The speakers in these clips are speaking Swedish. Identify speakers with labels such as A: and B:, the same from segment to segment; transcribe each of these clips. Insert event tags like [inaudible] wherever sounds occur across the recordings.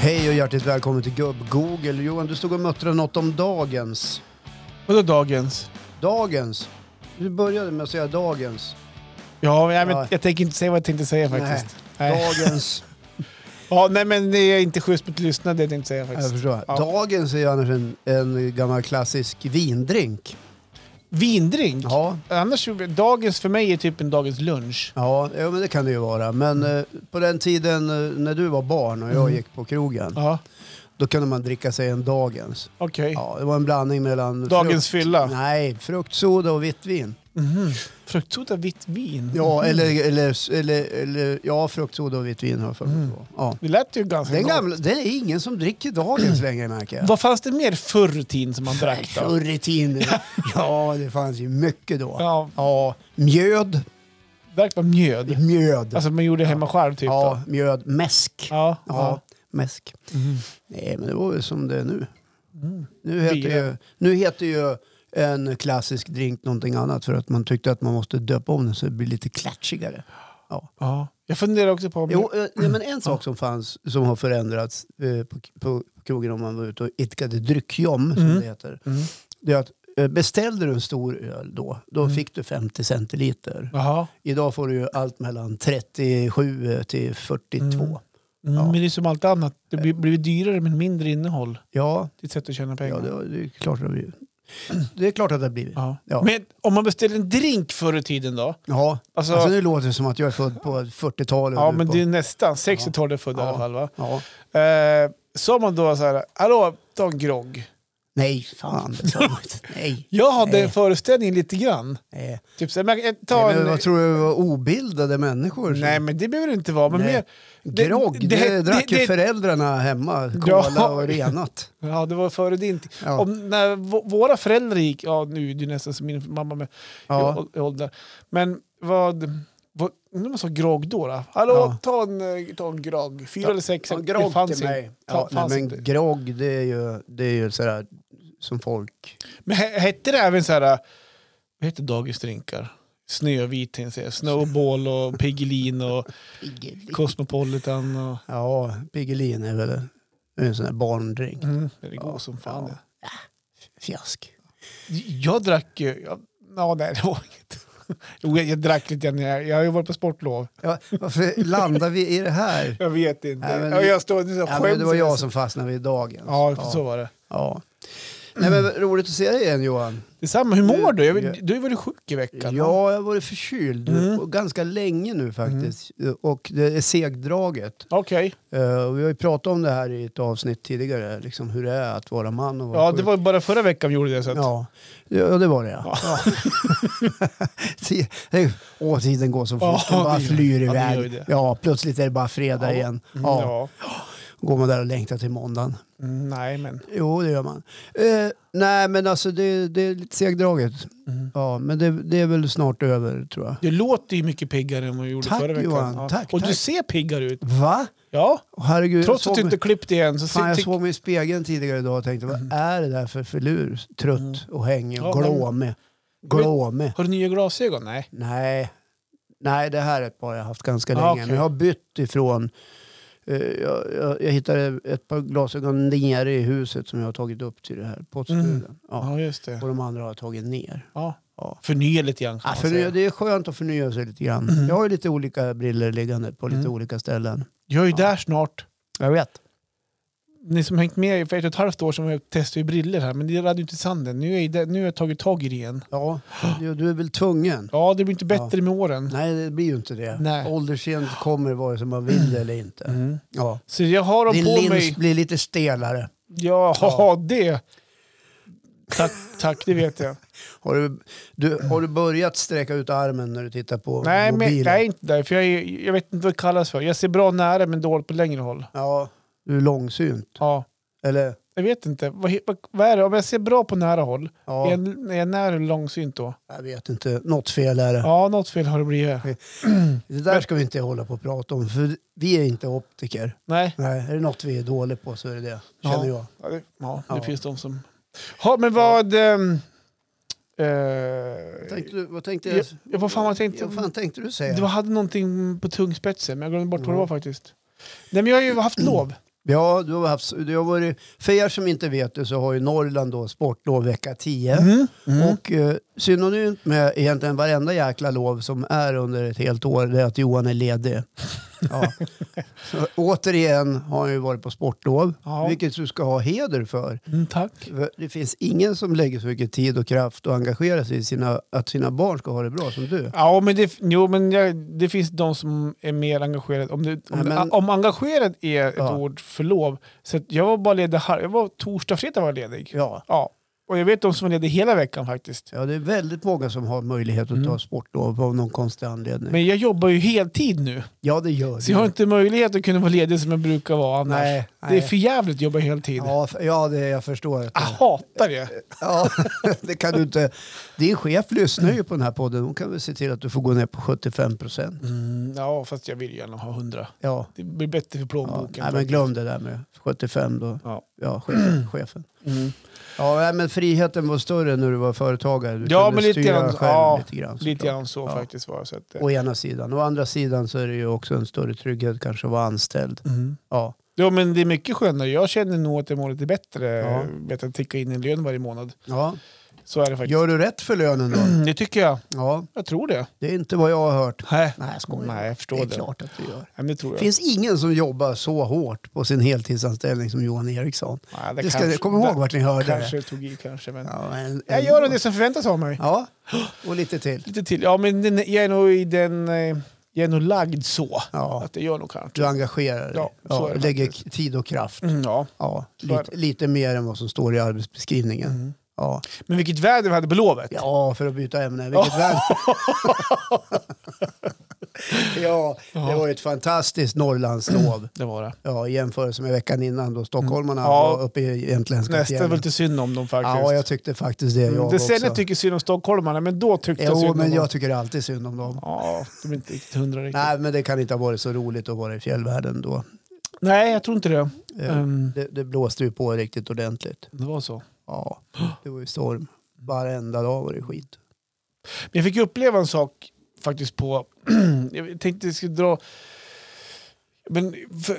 A: Hej och hjärtligt välkommen till Gubb-Google. Johan, du stod och muttrade något om dagens.
B: Vadå dagens?
A: Dagens? Du började med att säga dagens.
B: Ja, men, jag,
A: Ja.
B: men, jag tänker inte säga vad jag tänkte säga faktiskt. Nej.
A: Dagens.
B: Ja, nej men det är inte schysst mot lyssnarna det [laughs] jag tänkte säga
A: Jag
B: faktiskt.
A: förstår.
B: Ja.
A: Dagens är ju annars en, en gammal klassisk vindrink.
B: Vindrink?
A: Ja.
B: Annars, dagens för mig är typ en dagens lunch.
A: Ja, ja, men det kan det ju vara. Men eh, på den tiden eh, när du var barn och jag
B: Mm.
A: gick på krogen,
B: Ja,
A: då kunde man dricka sig en dagens.
B: okej.
A: Ja, det var en blandning mellan...
B: Mm. Dagens fylla?
A: Nej, fruktsoda och vitt vin.
B: Mhm. Fruktsoda vitt vin?
A: Ja,
B: Mhm.
A: eller, eller, eller, eller ja, fruktsoda och vitt vin har jag för mig.
B: Mm.
A: Ja.
B: Det lät ju ganska
A: Den
B: gott.
A: gamla, det är ingen som dricker dagens längre [clears throat] märker jag.
B: Vad fanns det mer förr i tiden som man drack då?
A: Förr i
B: [laughs]
A: tiden. Ja, det fanns ju mycket då.
B: Ja,
A: Ja, mjöd.
B: drack man mjöd?
A: Mjöd.
B: Alltså man gjorde hemma själv typ
A: ja,
B: då?
A: mjöd. Mäsk.
B: Ja.
A: Ja,
B: ja.
A: mäsk.
B: Mhm.
A: Nej, men det var väl som det är nu.
B: Mm.
A: Nu heter,
B: Bira.
A: ju, nu heter ju en klassisk drink någonting annat för att man tyckte att man måste döpa om den så det blir lite klatschigare.
B: ja. Jag funderar också på... om-
A: Jo, eh, nej, men
B: [clears throat]
A: en sak som fanns som har förändrats eh, på, på krogen om man var ute och idkade dryckjom, som
B: Mm.
A: det heter.
B: Mm.
A: det är att eh, beställde du en stor öl då, då
B: Mm.
A: fick du 50 centiliter.
B: Jaha.
A: Idag får du ju allt mellan 37 till 42.
B: Mm. Mm,
A: Ja.
B: Men det är som allt annat, det blir, blir dyrare men mindre innehåll.
A: Ja,
B: Det är ett sätt att tjäna pengar.
A: ja
B: Ja,
A: det, det är klart att det har blivit. Det är klart att det har blivit. Ja.
B: Men om man beställer en drink förr i tiden då?
A: Ja,
B: Alltså,
A: alltså nu låter det som att jag är född på 40-talet. och
B: ja,
A: du
B: men
A: på-
B: det är nästan. 60-talet är född i
A: Ja.
B: alla fall va?
A: ja.
B: Eh, sa man då så här, hallå, ta en grogg.
A: Nej, fan. det sa jag inte. Nej.
B: Jag hade
A: Nej.
B: en föreställning lite grann.
A: Nej.
B: Typ så här, men, jag kan ta
A: Nej, men
B: en...
A: vad tror du? Var obildade människor? som-
B: Nej, men det behöver det inte vara. Men
A: Nej.
B: mer, det-
A: Grogg, det,
B: det-
A: drack ju
B: det-
A: föräldrarna hemma.
B: Ja.
A: Cola och renat.
B: ja, det var före din tid.
A: Ja.
B: [laughs] Om, när v- våra föräldrar gick, ja nu är det ju nästan som min mamma med
A: Ja.
B: i, i ålder. Men vad, vad, när man sa grogg då? då? Hallå,
A: Ja.
B: ta, en, eh, ta en grogg. Fyra
A: Ta-
B: eller sex.
A: Ja,
B: det
A: grogg
B: fanns
A: till
B: inte.
A: mig.
B: Ta-
A: Ja, nej,
B: fanns
A: men
B: inte.
A: grogg, det är ju, det är ju sådär som folk...
B: Men he- hette det även så här, äh, vad heter dagisdrinkar? Snövit tänkte jag säga. Snowball och Piggelin och Cosmopolitan. Och,
A: Ja, Piggelin är väl en, en sån där barndrink.
B: mm, det är god
A: Ja,
B: som fan.
A: ja. Fiask.
B: Jag drack ju... Jag, ja, nej, det var inget. Jo, jag, jag drack lite grann. när Jag, jag har ju varit på sportlov.
A: Ja, varför landar vi i det här?
B: Jag vet inte.
A: Nej, men-
B: Ja, jag står, [laughs] jag
A: Ja,
B: skäms
A: men det var jag
B: nästan.
A: som fastnade vid dagen.
B: Ja,
A: ja.
B: så var det.
A: Ja. Nej, men roligt att se dig igen Johan.
B: Detsamma, hur mår du? Jag,
A: Ja.
B: vet- du har ju varit sjuk i veckan.
A: Ja, jag har varit förkyld
B: Mm.
A: och ganska länge nu faktiskt. Och det är segdraget.
B: Okej.
A: Eh, och vi har ju pratat om det här i ett avsnitt tidigare, liksom hur det är att vara man och vara
B: Ja,
A: sjuk.
B: det var ju bara förra veckan vi gjorde det. Så att,
A: Ja, ja det var det ja. [laughs] ja. Det- Åh, tiden går så fort.
B: Ja,
A: den bara
B: det gör-
A: flyr
B: ja, det gör ju
A: iväg.
B: det.
A: Ja, plötsligt är det bara fredag
B: Ja.
A: igen.
B: Mm,
A: Ja.
B: ja.
A: Går man där och längtar till måndagen.
B: Mm, Nej, men...
A: Jo, det gör man. Eh, nej, men alltså det, det är lite segdraget.
B: Mm.
A: Ja, men det, det är väl snart över tror jag.
B: Du låter ju mycket piggare än vad du gjorde
A: Tack,
B: förra veckan.
A: Johan. Tack,
B: Och
A: tack.
B: du ser piggare ut.
A: Va?
B: Ja,
A: Åh, Herregud,
B: trots
A: jag
B: att du
A: såg
B: inte
A: mig,
B: klippt igen. Så
A: fan, jag
B: tyck-
A: såg mig i spegeln tidigare idag och tänkte vad är det där för filur?
B: Mm.
A: Trött och hängig och
B: Ja, men-
A: glåmig. Glåmig.
B: Har du nya glasögon? Nej.
A: Nej. Nej, det här är ett par jag haft ganska
B: Ja,
A: länge.
B: okej.
A: Men jag har bytt ifrån... eh, jag, jag, jag hittade ett par glasögon nere i huset som jag har tagit upp till det här poddstudion. Ja.
B: Ja, just det.
A: Och de andra har jag tagit ner.
B: Ja.
A: Ja.
B: Förnya lite grann kan
A: Ja,
B: man
A: Ah, för
B: säga.
A: det är skönt att förnya sig lite grann.
B: Mm.
A: Jag har ju lite olika briller liggande på lite
B: Mm.
A: olika ställen.
B: Jag är ju
A: Ja.
B: där snart.
A: Jag vet.
B: Ni som hängt med för ett och ett halvt år sedan jag testade ju briller här, men det rann ju inte i sanden. Nu, är jag, där- nu har jag tagit tag i det igen.
A: Ja, du, du är väl tvungen.
B: Ja, det blir inte bättre med åren.
A: Nej, det blir ju inte det.
B: Nej.
A: Ålderssent kommer vare sig man vill det eller inte.
B: Mm.
A: Ja.
B: Så jag har dem
A: Din
B: på
A: lins
B: mig.
A: blir lite stelare.
B: Ja,
A: Ja.
B: [laughs] det. Tack, tack, det vet jag.
A: Har du, du, har du börjat sträcka ut armen när du tittar på
B: Nej, men
A: mobilen?
B: jag är inte där. För jag, är, jag vet inte vad det kallas för. Jag ser bra nära men dåligt på längre håll.
A: Ja, du är långsynt.
B: Ja,
A: Eller?
B: jag vet inte. Vad, he- vad, vad är det? Om jag ser bra på nära håll,
A: Ja,
B: är, jag, är jag nära eller långsynt då?
A: jag vet inte. Något fel är det.
B: Ja, något fel har det blivit.
A: Det där ska vi inte hålla på och prata om, för vi är inte optiker.
B: Nej,
A: Nej, är det något vi är dåliga på så är det det,
B: Ja.
A: känner jag.
B: ja, det, ja, det
A: Ja.
B: finns de som... Ja, men vad... ehm, eh,
A: Tänkte du, vad tänkte
B: jag,
A: jag?
B: jag, eh, vad fan, vad tänkte
A: Vad fan tänkte du säga?
B: Det var, hade någonting på tungspetsen, men jag glömde bort vad det
A: Ja. Mm.
B: var faktiskt. Nej, men jag har ju haft lov.
A: Ja, du har, haft, du har varit, för er som inte vet det så har ju Norrland då sportlov vecka 10.
B: Mm, mm.
A: Och eh, synonymt med egentligen varenda jäkla lov som är under ett helt år det är att Johan är ledig.
B: [laughs]
A: Ja. Så, återigen har han ju varit på sportlov,
B: Ja.
A: vilket du ska ha heder för.
B: Mm, tack.
A: För Det finns ingen som lägger så mycket tid och kraft och engagerar sig i sina, att sina barn ska ha det bra som du.
B: Ja, men det, jo, men jag, det finns de som är mer engagerade. Om, det, om,
A: Nej, men-
B: det, om engagerad är ett
A: Ja.
B: ord för lov. Så att jag var bara ledig här. Jag var torsdag, fredag var jag ledig.
A: Ja.
B: Ja. Och jag vet de som var lediga hela veckan faktiskt.
A: ja, det är väldigt många som har möjlighet att
B: Mm.
A: ta sportlov av någon konstig anledning.
B: Men jag jobbar ju heltid nu.
A: ja, det gör
B: Så jag har inte möjlighet att kunna vara ledig som jag brukar vara annars.
A: Nej,
B: Det
A: nej.
B: är för jävligt att jobba heltid.
A: Ja, f- ja det, jag förstår. att
B: Jag
A: det-
B: hatar det.
A: Ja, [laughs] det kan du inte. Din chef lyssnar ju på den här podden. Hon kan väl se till att du får gå ner på 75 procent.
B: Mm, ja, fast jag vill gärna ha 100.
A: Ja.
B: Det blir bättre för
A: Ja,
B: plånboken.
A: nej, men glöm det där med 75 då.
B: Ja.
A: Ja,
B: [clears throat]
A: chefen. chefen.
B: Mm.
A: Ja, nej, men friheten var större när du var företagare. Du
B: Ja,
A: kunde
B: men lite
A: styra
B: grann-
A: själv
B: ja,
A: lite grann.
B: Lite
A: såklart.
B: grann så
A: Ja.
B: faktiskt var det, så att, eh.
A: Å ena sidan. Å andra sidan så är det ju också en större trygghet kanske att vara anställd.
B: Mm.
A: Ja,
B: Ja, men det är mycket skönare. Jag känner nog att jag mår lite bättre.
A: Ja.
B: Ja. Vet att ticka in en lön varje månad.
A: ja.
B: Så är det faktiskt.
A: Gör du rätt för lönen då?
B: Mm, Det tycker jag.
A: Ja,
B: Jag tror det.
A: det är inte vad jag har hört.
B: Nej,
A: Nej, jag skojar.
B: Nej jag
A: det
B: förstår
A: är
B: det.
A: klart att du gör.
B: Ja, men det tror
A: Det
B: jag.
A: finns ingen som jobbar så hårt på sin heltidsanställning som Johan Eriksson.
B: Nej,
A: Det ska, kom ihåg vart ni hörde
B: Kanske
A: det.
B: jag tog i kanske, men...
A: Ja, en,
B: Jag gör nog det som förväntas av mig.
A: Ja, och lite till.
B: Lite till. Ja, men den- jag är nog i den... eh, Jag är nog lagd så.
A: Ja,
B: Att jag gör nog kanske.
A: du engagerar dig.
B: Ja, så är det
A: lägger
B: faktiskt.
A: tid och kraft.
B: Mm, ja.
A: Ja,
B: Så är
A: lite, lite mer än vad som står i arbetsbeskrivningen.
B: Mm.
A: Ja.
B: Men vilket väder vi hade på lovet.
A: ja, för att byta ämne. Vilket
B: [laughs]
A: väder. ja, det var ju ett fantastiskt Norrlandslov.
B: Det var det.
A: Ja, i jämförelse med veckan innan då stockholmarna
B: Mm. Ja.
A: var uppe i jämtländska
B: Nästan var
A: fjällen.
B: lite synd om dem faktiskt. Mm,
A: Ja, jag tyckte faktiskt det. Jag
B: det
A: också.
B: sen jag tycker synd om stockholmarna, men då tyckte jag synd
A: Jo,
B: om
A: men
B: dem.
A: jag tycker alltid synd om dem.
B: Ja, de är inte riktigt hundra riktigt. Nej.
A: Nej, men det kan inte ha varit så roligt att vara i fjällvärlden då.
B: jag tror inte det.
A: Eh,
B: Ehm,
A: Det, det blåste ju på riktigt ordentligt.
B: det var så.
A: Ja, det var ju storm. Varenda dag var det skit.
B: Men jag fick ju uppleva en sak faktiskt på... [clears throat] jag tänkte jag skulle dra... Men för,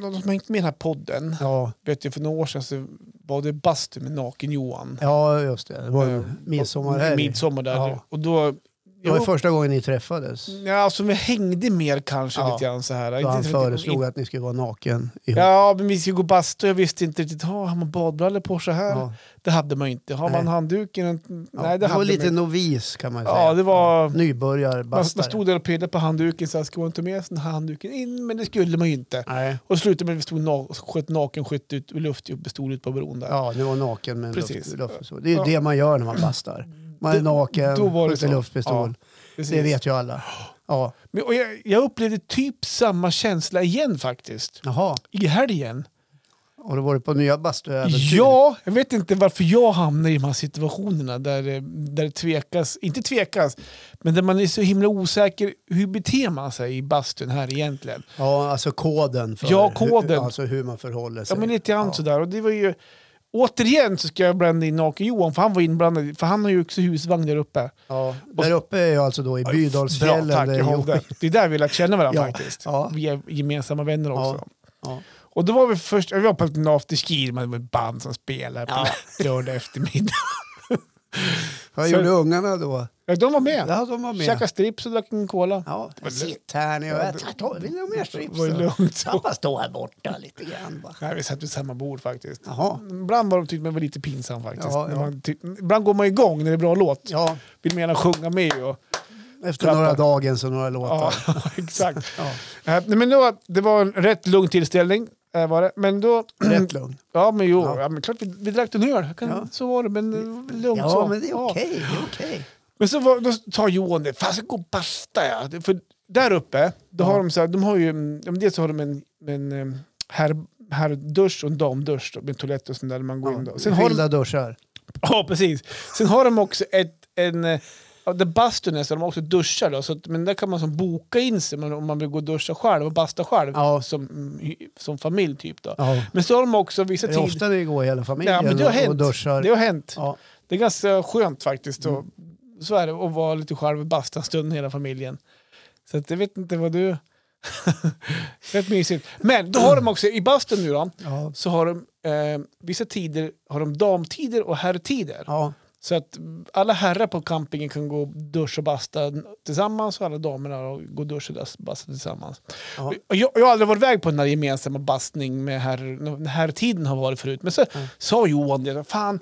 B: någon som har hängt med i den här podden,
A: Ja,
B: vet jag för några år sedan så var det bastu med Naken-Johan.
A: ja just det. Det var ju
B: Ehm,
A: midsommarhelg.
B: Midsommar där.
A: Ja.
B: Och då...
A: det var ju första gången ni träffades.
B: Ja, alltså vi hängde mer kanske
A: Ja.
B: lite grann så här.
A: Då han
B: Inte-
A: föreslog att ni skulle vara naken ihop.
B: Ja, men vi skulle gå bastu. Jag visste inte riktigt. Ha, har man badbrallor på så här?
A: Ja.
B: Det hade man ju inte. Har man
A: Nej.
B: handduken?
A: Ja,
B: Nej, det,
A: var
B: hade
A: lite
B: man inte.
A: novis kan man säga.
B: Ja, det var... Man, man
A: Nybörjarbastare.
B: stod där och pillade på handduken. Så här, ska man ta med sig den här handduken in? Men det skulle man ju inte.
A: Nej.
B: Och det slutade med att vi stod na- sköt naken skytt ut ur luft upp, stod ut på bron där.
A: Ja, ni var naken med en
B: Precis.
A: luft, luft, så. Det är ju
B: Ja.
A: det man gör när man bastar. Man är
B: Då-
A: naken,
B: då var det
A: skjuter
B: så.
A: luftpistol.
B: Precis.
A: det vet ju alla. Ja.
B: Men, och jag, jag upplevde typ samma känsla igen faktiskt.
A: Jaha,
B: I helgen.
A: och då var du på nya bastuäventyr?
B: Ja, jag vet inte varför jag hamnar i de här situationerna där, eh, där det tvekas, inte tvekas, men där man är så himla osäker. Hur beter man sig i bastun här egentligen?
A: Ja, alltså koden för
B: Ja, koden.
A: Hur, alltså hur man förhåller sig.
B: Ja, men lite grann
A: Ja.
B: sådär. Och det var ju, återigen så ska jag blanda in Naken-Johan, för han var inblandad, för han har ju också husvagn där uppe.
A: Ja, där uppe är jag alltså då i Bydalsfjällen.
B: Bra, tack.
A: där
B: Jag
A: Jo-
B: håller. Det är där vi lärt känna varandra
A: Ja,
B: faktiskt.
A: ja.
B: Vi är gemensamma vänner också.
A: Ja.
B: Och då var vi först, vi var på en liten afterski, det var ett band som spelade på lördag eftermiddag. [laughs]
A: Vad
B: Så-
A: gjorde ungarna då?
B: Ja, de var med.
A: Ja, de var med.
B: Käkade strips och drack en cola.
A: Ja,
B: Men det-
A: sitt här nu.
B: Ja,
A: Jag
B: det-
A: tar- tar- vill du ha mer
B: Det var ju
A: strips?
B: lugnt så.
A: Pappa står här borta lite grann bara.
B: Nej, vi satt vid samma bord faktiskt.
A: Jaha.
B: Ibland var de tyckte man var lite pinsam faktiskt.
A: Ja,
B: När
A: ja.
B: Man ty- ibland går man igång när det är bra låt.
A: Ja,
B: Vill man gärna sjunga med. Och,
A: efter
B: Klappa.
A: några dagens och några låtar.
B: ja, [laughs] exakt.
A: Ja.
B: Eh, nej, men då, det var en rätt lugn tillställning. eh, Var det. Men då...
A: Rätt lugn.
B: [clears throat] Ja, men jo.
A: Ja.
B: Ja. men klart, vi, vi drack en öl. Kan,
A: Ja.
B: Så var det, men eh, lugnt så.
A: Ja, men det är okej. det är okej.
B: Men så var, då tar Johan det. Fan, ska gå och basta ja. Det- För där uppe, då
A: Ja.
B: har de så här, de har ju, mm, ja, men dels så har de en, en eh, herr, herrdusch och en damdusch då, med toalett och sånt där när man går in. Då. Sen har de,
A: Skilda duschar.
B: ja, precis. Sen har de också ett, en, eh, ja, där bastun är så de har också duschar då, så att, men där kan man som boka in sig men om man vill gå och duscha själv och basta själv
A: Ja.
B: som, mm, hy- som familj typ då.
A: Ja.
B: Men så har de också vissa
A: Det är
B: tider,
A: ofta det går hela familjen
B: Ja, men det har
A: och- och
B: hänt.
A: duschar.
B: det har hänt.
A: Ja. Mm.
B: Det är ganska skönt faktiskt. Och, Så är det, att vara lite själv och basta en stund med hela familjen. Så att jag vet inte vad du [laughs] Rätt mysigt. Men då har de också, i bastun nu då,
A: Ja.
B: så har de eh, vissa tider har de damtider och herrtider.
A: Ja.
B: Så att alla herrar på campingen kan gå och duscha och basta tillsammans och alla damerna och gå och duscha och basta tillsammans.
A: Ja.
B: Och Jag, jag har aldrig varit iväg på den här gemensamma bastning med herr, den här tiden har varit förut. Men så sa Johan det, fan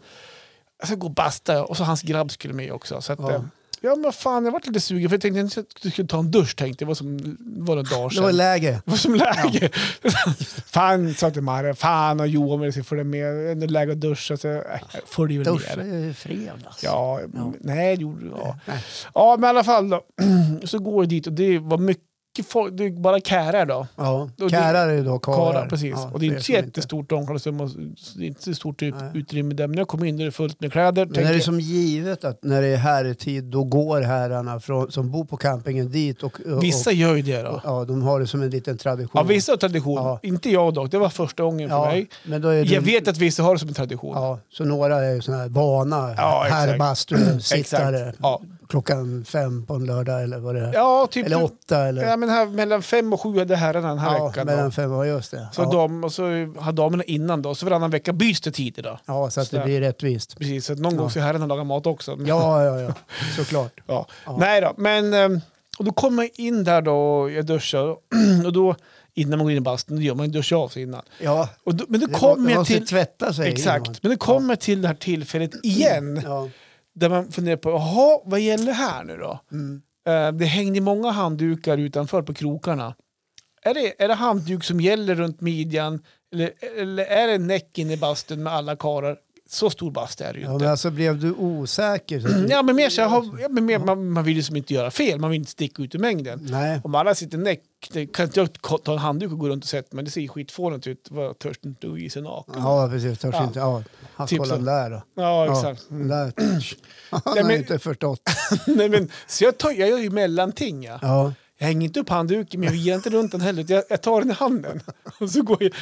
B: jag ska gå och basta och så hans grabb skulle med också. Så att,
A: Ja.
B: ja. ja men fan jag varit lite sugen för jag tänkte att jag skulle ta en dusch tänkte jag. Det var som var några dagar
A: Det var
B: sedan.
A: läge.
B: Det var som läge. [laughs] fan, sa till Marre. Fan och Johan ville följa med. Ändå läge att duscha. Så, äh, jag följde väl
A: Duscha
B: med.
A: i fredags.
B: Ja, m- nej det gjorde ja.
A: Nej.
B: ja, men i alla fall då. [clears throat] Så går jag dit och det var mycket folk. Det är bara kärar då.
A: Ja.
B: det-
A: Kärar är ju då karlar.
B: Karar, precis.
A: Ja,
B: och det är inte
A: för
B: så
A: er som
B: jättestort omklädningsrum och s- det är inte så stort ut,
A: Nej.
B: utrymme där. Men när jag kom in där är det fullt med kläder.
A: Men är
B: tänker
A: det
B: jag.
A: som givet att när det är herrtid då går herrarna från, som bor på campingen dit och, och,
B: Vissa gör ju det då.
A: och ja, de har det som en liten tradition.
B: Ja, vissa har tradition.
A: Ja.
B: Inte jag dock. Det var första gången för
A: Ja,
B: mig.
A: men då är det,
B: Jag vet att vissa har det som en tradition.
A: Ja, så några är ju sådana här vana
B: Ja, [clears throat] exakt.
A: herrbastusittare
B: Exakt. Ja.
A: klockan fem på en lördag eller vad det är.
B: ja, typ.
A: eller åtta eller...
B: Ja, men här, mellan fem och sju hade herrarna den här
A: Ja,
B: veckan. då.
A: mellan fem, ja just det.
B: Så
A: ja.
B: de, och så har damerna innan då. Så varannan vecka byts det tider då.
A: ja, så att det
B: Sådär.
A: blir rättvist.
B: Precis, så att någon gång ska herrarna laga mat också. Men-
A: Ja, ja, ja. Såklart.
B: [laughs] Ja. Nej då, men ehm, och då kommer jag in där då och jag duschar. Och [clears throat] då, innan man går in i bastun, då gör man ju duschar av sig innan.
A: Ja,
B: Och då, men då
A: det
B: kommer
A: må-
B: jag
A: måste
B: till...
A: tvätta sig
B: Exakt, men då kommer jag till det här tillfället igen.
A: innan. Ja.
B: Där man funderar på, jaha, vad gäller här nu då?
A: Mm.
B: Eh, Det hängde många handdukar utanför på krokarna. Är det, är det handduk som gäller runt midjan? Eller, eller är det näck in i bastun med alla karar? Så stor bastu är det ju
A: ja,
B: inte.
A: men alltså blev du osäker? Så att du...
B: Ja, men mer så jag har, ja, men mer, man, man vill ju som inte göra fel, man vill inte sticka ut ur mängden.
A: Nej.
B: Om alla sitter näck, det kan inte jag ko- ta en handduk och gå runt och sätta men det ser ju skitfånigt ut. Vad törs inte att i sig naken. Ja,
A: Ja, precis. Törs
B: Ja.
A: inte. Ja, han
B: Typ
A: kolla
B: så.
A: den där då.
B: exakt. [laughs]
A: Ja, den där. Han
B: [clears throat] Nej,
A: har
B: men-
A: inte förstått.
B: Nej, men, så jag, tar, jag gör ju mellanting. Ja.
A: Ja.
B: Jag hänger inte upp handduken, men jag virar inte runt den heller. utan Jag, jag tar den i handen. [laughs] Och så går jag,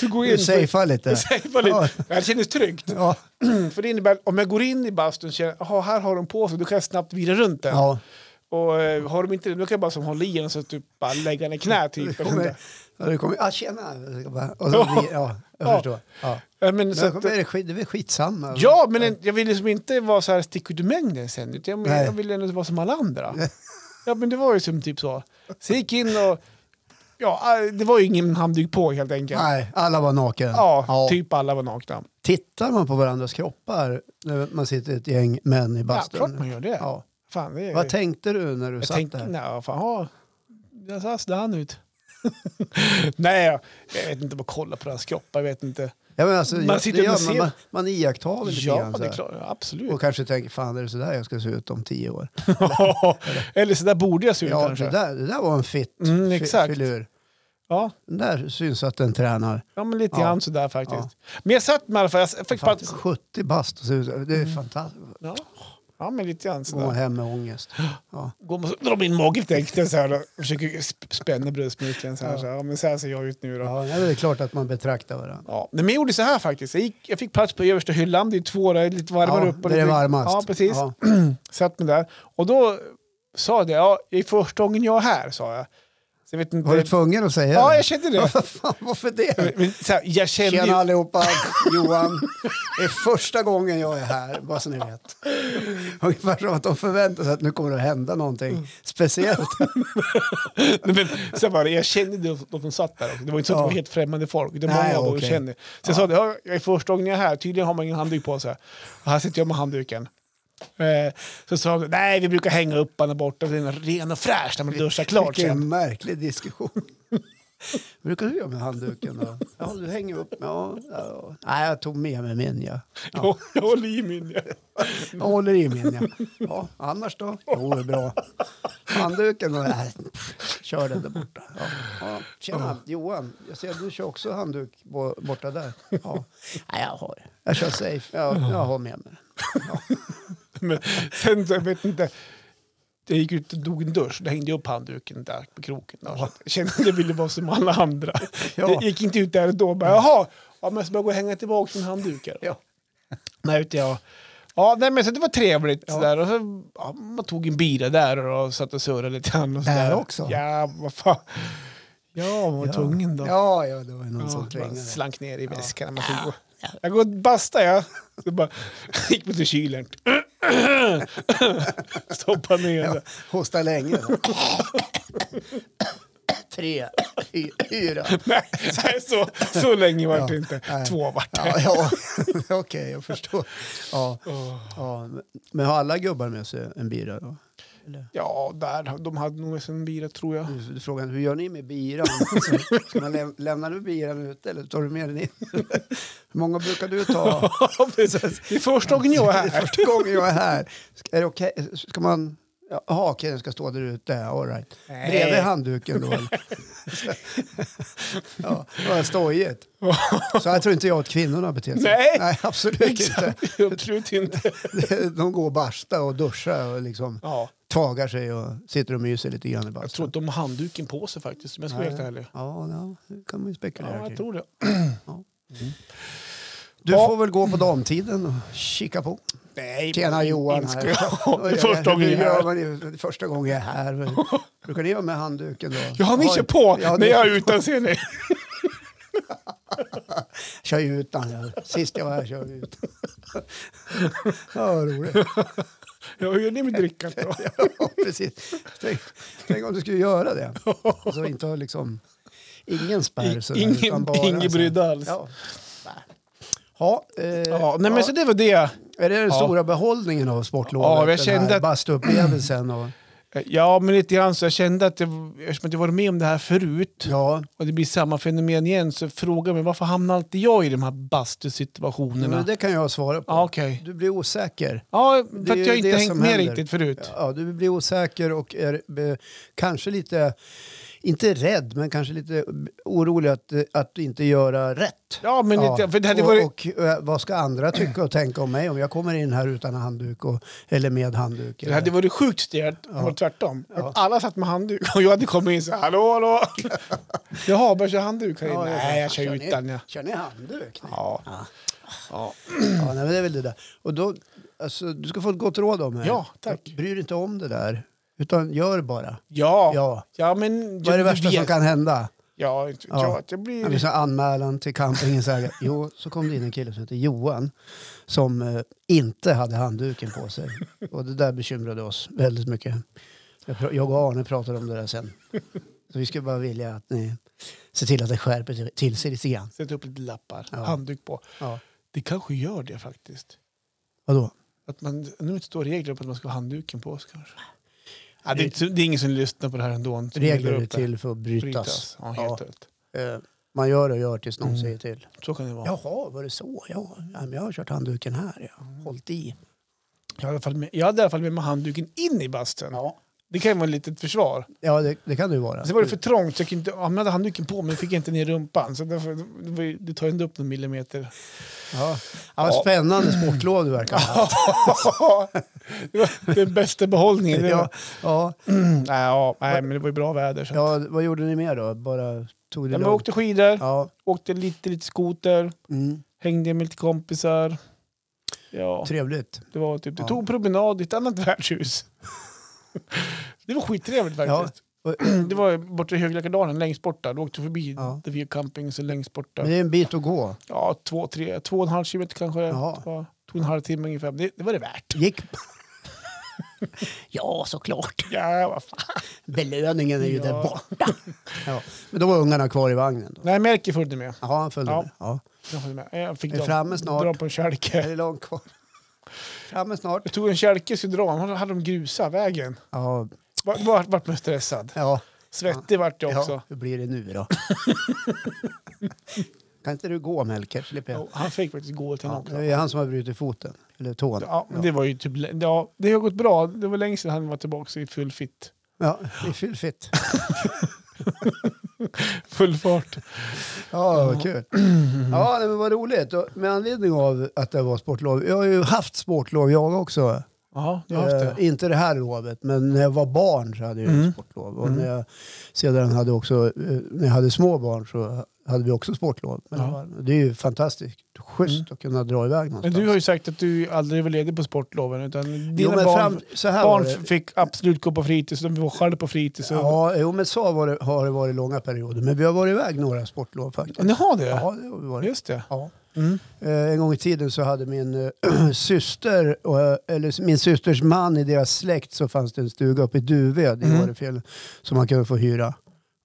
B: så går jag
A: Du
B: in. för-
A: safear lite.
B: [laughs] Jag safear lite. Ja, Det kändes tryggt.
A: Ja.
B: [clears throat] För det innebär, om jag går in i bastun och känner, jaha, här har de på sig, då kan jag snabbt vira runt den.
A: ja.
B: Och eh, har de inte det, då kan jag bara som hålla i den och så typ bara lägga den i knä
A: Det [laughs]
B: typ.
A: kommer, ja, det kommer, ah, tjena! Och så blir, ja, jag
B: Ja.
A: förstår. Ja.
B: Ja, men,
A: Men
B: så
A: då
B: att,
A: kommer, är det, skit, det är väl skitsamma.
B: ja, men en, jag vill liksom inte vara så här stick ut ur mängden sen. Utan jag,
A: Nej.
B: jag vill ändå vara som alla
A: [laughs]
B: andra. Ja, men det var ju som typ så. Så jag gick in och, ja, eh, det var ju ingen handduk på helt enkelt.
A: Nej, alla var naken.
B: Ja, typ alla var nakna.
A: Tittar man på varandras kroppar när man sitter ett gäng män i
B: Ja, klart
A: bastun?
B: man gör det.
A: Ja.
B: Fan, det är,
A: Vad tänkte du när du
B: jag
A: satt
B: tänkte,
A: där?
B: nej, fan, ja, där så här ser han ut. [laughs] nej, jag, jag vet inte, bara kolla på hans kropp, jag vet inte.
A: Ja, men alltså,
B: Man
A: man,
B: sitter
A: det
B: och
A: gör, man,
B: ser-
A: man, man iakttar väl lite
B: Ja,
A: grann så
B: det är
A: här.
B: klart, ja, absolut.
A: Och kanske tänker, fan är det sådär jag ska se ut om tio år?
B: Eller så där borde jag se ut
A: Ja,
B: kanske.
A: det där, det där var en fitt
B: Mm,
A: fi-
B: exakt.
A: filur.
B: Ja,
A: Den där syns att den tränar.
B: ja, men lite
A: Ja.
B: grann sådär faktiskt. Men jag satt med i alla fall, jag fick
A: Fan,
B: bara...
A: 70 bast och ser ut. Det är
B: Mm.
A: fantastiskt.
B: Ja. ja, men lite grann
A: Gå
B: sådär.
A: hem med ångest. Ja.
B: Går man så drar man in magen tänkte jag så här och försöker sp- spänna bröstmuskeln så här.
A: Ja.
B: Så här. Ja, men så här ser jag ut nu då. Ja.
A: Ja, det är väl klart att man betraktar varandra.
B: Nej, men jag gjorde så här faktiskt. Jag, gick, jag fick plats på översta hyllan, det är två där, lite varmare
A: Ja,
B: upp. och
A: där det är
B: lite-
A: varmast.
B: Ja, precis.
A: Ja.
B: Satt mig där. Och då sa jag det, ja, det är första gången jag är här, sa jag. Så jag vet inte...
A: Var du tvungen att säga
B: ja,
A: det?
B: jag kände det.
A: Fan, [laughs] varför det?
B: Men, så här, jag kände ju...
A: Tjena
B: [laughs]
A: allihopa, Johan. Det är första gången jag är här, bara så ni vet. Ungefär som att de förväntar sig att nu kommer det att hända
B: Mm.
A: någonting
B: [laughs]
A: speciellt.
B: Nej, men, sen var det, jag kände de, de som satt där också. Det var inte så att det
A: Ja.
B: var helt främmande folk. Det var
A: Nej,
B: många av dem jag
A: okej.
B: kände. Så jag sa det, "Ja, jag är första gången jag är här. Tydligen har man ingen handduk på sig. Och här sitter jag med handduken. Eh, så sa de, nej vi brukar hänga upp den där borta. Den är ren och fräsch när man duschar klart sen. [laughs]
A: Vilken märklig diskussion. Vad brukar du göra med handduken då? Ja, du hänger upp. Ja, ja. Nej, jag tog med mig min. Ja.
B: Jag, jag håller i min. Ja.
A: Jag håller i min. Ja. Ja, annars då? Jo, det är bra. Handduken? då? Nej, kör den där borta. Ja. Ja, tjena, Johan. Jag ser att du kör också handduk bo- borta där. Ja. Nej, jag har Jag kör safe. Ja, jag har med mig.
B: Men sen, så, jag vet inte. Jag gick ut och dog en dusch. Då hängde jag upp handduken där på kroken. Där. Så Jag kände att jag ville vara som alla andra.
A: Ja.
B: Jag gick inte ut där och då. Bara, Jaha, ja, men jag ska bara gå och hänga tillbaka min handduk. här."
A: Ja.
B: Nej, ute jag. Ja, nej, men så det var trevligt. Sådär. Och så, ja, man tog en bira där och satt och surrade lite grann. Och
A: Där
B: sådär.
A: också?
B: Ja, vad fan. Ja, vad var tvungen då.
A: Ja, ja, det var ju någon som
B: bara
A: trängade.
B: slank ner i väskan. Ja. Jag går och bastar jag. Så bara, [laughs] gick mot kylen. [clears throat] Stoppa ner
A: Ja,
B: det.
A: hosta länge. Då. Tre, fy- fyra.
B: Nej, nej, så, så länge vart det
A: Ja,
B: inte.
A: nej.
B: Två vart det.
A: Ja, ja. [laughs] okej, jag förstår. Ja, ja. Men har alla gubbar med sig en bira då? Eller?
B: Ja, där, de hade nog en bira tror jag.
A: Du, du frågar hur gör ni med
B: [laughs]
A: biran? Ska man läm- lämna du biran ute eller tar du med
B: [laughs]
A: den in? Hur många brukar du ta?
B: Ja, precis. Det är första gången jag är
A: Det är
B: här.
A: första gången jag är här. Ska- Är det okej? Ska man... Jaha, okej, den ska stå där ute. All right.
B: Nej.
A: Bredvid handduken då? eller? ja, vad stojigt. Så här tror inte jag att kvinnorna beter sig.
B: Nej.
A: Nej absolut inte.
B: Absolut inte.
A: De går och barstar och duschar och liksom
B: Ja,
A: tagar sig och sitter och myser lite grann i bastun.
B: jag tror inte de har handduken på sig faktiskt, om jag ska vara helt ärlig.
A: Ja, ja, det kan man ju spekulera
B: Ja, jag
A: kring.
B: tror det.
A: Du
B: Ja.
A: får väl gå på damtiden och kika på.
B: Nej,
A: Tjena Johan
B: inte
A: [laughs] här.
B: ska jag. Det är första gången jag är här.
A: jag är här. Första gången jag är här. Men
B: [laughs]
A: brukar ni göra med handduken då?
B: Ja, ni
A: Oj.
B: kör på
A: Ja,
B: när
A: ni
B: jag är utan ser ni.
A: kör ju utan. Ja. Sist jag var här körde jag
B: [laughs]
A: ut. ja, vad roligt.
B: Ja, Hur gör ni med drickat då?
A: [laughs] Ja, precis. Tänk, tänk om du skulle göra det. Alltså inte ha liksom ingen spärr. sådär,
B: Ingen-
A: utan bara
B: ingen
A: så.
B: brydde alls.
A: Ja. Ja, eh,
B: Ja, nej, men så det var det.
A: Är det den
B: Ja.
A: stora behållningen av sportlovet?
B: Ja, jag
A: Den
B: kände
A: här
B: att-
A: Bastuupplevelsen och...
B: Ja, men lite grann så jag kände att jag, eftersom att jag varit med om det här förut
A: Ja,
B: och det blir samma fenomen igen så frågar jag mig varför hamnar alltid jag i de här bastusituationerna?
A: men det kan jag svara på.
B: Ja, okej.
A: Du blir osäker.
B: Ja, för
A: Det är
B: att
A: ju
B: jag inte
A: det
B: hängt
A: som
B: med
A: händer.
B: riktigt förut.
A: Ja, du blir osäker och är eh, kanske lite, inte rädd, men kanske lite orolig att, eh, att inte göra rätt.
B: Ja, men lite, för det hade
A: och,
B: varit...
A: och, eh, vad ska andra tycka och tänka om mig om jag kommer in här utan handduk och, eller med handduk?
B: Det hade varit sjukt stelt om det var tvärtom. Att alla satt med handduk och jag hade kommit in så här,
A: [laughs]
B: hallå, hallå. Jaha, bör jag köra handduk här inne?
A: Ja,
B: Nej, jag kör
A: ni-
B: utan. Ja.
A: Kör ni handduk?
B: Ja. Ja.
A: Ja, nej, men det är väl det där. Och då, alltså, du ska få ett gott råd av mig.
B: Ja, tack.
A: Bry dig inte om det där, utan gör bara.
B: Ja.
A: Ja.
B: ja, men...
A: Vad är det
B: du
A: värsta som
B: vet.
A: kan hända?
B: Ja, inte vet
A: Ja.
B: jag, att jag
A: Ja,
B: blir...
A: liksom anmälan till campingen. Så här, jo, så kom det in en kille som heter Johan som eh, inte hade handduken på sig. Och det där bekymrade oss väldigt mycket. Jag, pra- jag och Arne pratade om det där sen. Så vi skulle bara vilja att ni ser till att det skärper till sig lite grann.
B: Sätta upp lite lappar,
A: Ja.
B: handduk på.
A: Ja.
B: Det kanske gör det faktiskt.
A: Vadå?
B: Att man, nu står regler på att man ska ha handduken på sig kanske. Ja, det, är inte så- det är ingen som lyssnar på det här ändå. som
A: Regler
B: lägger
A: är
B: upp det.
A: till för att brytas.
B: Brytas. Ja, helt
A: Ja.
B: rätt.
A: Eh, man gör och gör tills någon
B: Mm.
A: säger till.
B: Så kan det vara.
A: Jaha, var det så? Ja, ja, men jag har kört handduken här. Ja. Hållt i.
B: Jag, hade i alla fall med, jag hade i alla fall med mig handduken in i bastun.
A: Ja,
B: Det kan ju vara ett litet försvar.
A: ja det, det kan det ju vara.
B: Sen var det för trångt så jag kunde inte använda handduken på mig. Fick jag inte ner rumpan. Så därför, det var ju- det tar ju inte upp
A: [laughs]
B: någon millimeter.
A: Ja. Ja,
B: Ja.
A: spännande sportlov du verkar ha.
B: [laughs] det var den bästa behållningen. Det
A: Ja,
B: var, [clears throat]
A: ja,
B: nej, ja, nej, men det var ju bra väder. Så.
A: ja, vad gjorde ni mer då? Bara tog det
B: Ja, men jag
A: lugnt?
B: åkte skidor,
A: Ja,
B: åkte lite, lite skoter,
A: mm,
B: hängde med lite kompisar. Ja,
A: trevligt.
B: det var typ, det
A: Ja.
B: tog en promenad i ett annat [laughs] värdshus. det var skittrevligt faktiskt.
A: Och,
B: Det var borta i Höglakardalen, längst bort där. Du åkte förbi
A: Ja.
B: där vi har camping, så längst bort
A: men
B: där.
A: det är en bit att gå.
B: Ja, två, tre, två och en halv kilometer kanske.
A: Jaha.
B: Det var- tog en halvtimme ungefär. Det, det var det värt.
A: Gick... [laughs] ja, såklart.
B: Ja, vad fan.
A: Belöningen är ju där
B: Ja.
A: borta. [laughs] Ja. Men då var ungarna kvar i vagnen. Då.
B: Nej, Melker följde med.
A: Jaha, han följde
B: Ja.
A: med. Ja.
B: Jag följde med. Jag fick
A: Är
B: dra,
A: framme snart?
B: dra på en
A: Är
B: kälke.
A: det långt kvar? [laughs] Framme snart.
B: Jag tog en kälke skulle dra, men då hade de grusat vägen.
A: Ja,
B: Vart var, vart man stressad.
A: ja.
B: Svettig vart jag också.
A: Ja, hur blir det nu
B: [laughs]
A: då? kan inte du gå Melker? Slipper jag.
B: Jo, Han fick faktiskt gå till
A: Ja,
B: någon.
A: det är han som har brutit foten, eller tån.
B: Ja, men det var ju typ... Ja, det har gått bra. Det var länge sedan han var tillbaka i full fit.
A: Ja, det är fyllfitt.
B: Full fart.
A: Ja,
B: Mm.
A: vad kul. Ja, nej, men vad roligt. Och Med anledning av att det var sportlov. Jag har ju haft sportlov jag också.
B: Ja, jag har haft det.
A: Eh, inte det här lovet, men när jag var barn så hade jag ju
B: Mm.
A: sportlov. Och när jag sedan hade också, eh, när jag hade små barn så hade vi också sportlov. Men
B: Ja. Mm.
A: det var- det är ju fantastiskt schysst att kunna dra iväg
B: Men
A: någonstans.
B: du har ju sagt att du aldrig var ledig på sportloven. Utan dina
A: jo, men
B: barn,
A: fram, så här var
B: barn
A: det.
B: fick absolut gå på fritids. De var själva på fritids. och-
A: Ja, jo, men så var det, har det varit långa perioder. Men vi har varit iväg några sportlov faktiskt.
B: Ni har det?
A: Ja, det har vi varit.
B: Just det.
A: Ja.
B: Mm.
A: Eh, En gång i tiden så hade min eh, [clears throat] syster, och, eh, eller min systers man i deras släkt så fanns det en stuga uppe i Duved i
B: Mm.
A: Årefjällen som man kunde få hyra.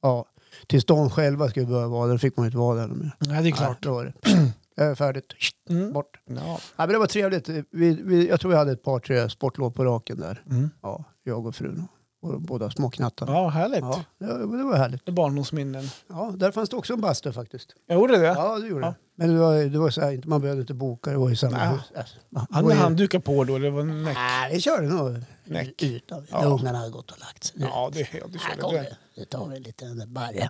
A: Ja. Tills de själva skulle börja vara där, då fick man ju inte vara där mer.
B: Ja, det är klart.
A: Nej, då var det. [clears throat] Jag är färdigt.
B: Mm.
A: Bort.
B: Ja.
A: Ja, men det var trevligt. Vi, vi, jag tror vi hade ett par, tre sportlov på raken där.
B: Mm.
A: Ja, jag och frun. Och båda småknattarna.
B: ja, härligt.
A: Ja, det, det var härligt.
B: Det är barndomsminnen.
A: Ja, där fanns det också en bastu faktiskt.
B: Jag gjorde det?
A: Ja, det gjorde
B: Ja.
A: det. Men det var, det var så här, inte- man behövde inte boka, det var i samma
B: Nej.
A: hus. Alltså, man- det
B: Hade
A: var ju-
B: handdukar på då? Det var en näck.
A: Nej, vi körde nog
B: Näck.
A: ut av
B: Ja.
A: när ungarna hade gått och lagt sig. Nu-
B: Ja, det är det.
A: här
B: körde
A: kommer
B: det.
A: det. Nu tar vi en liten [laughs] barre.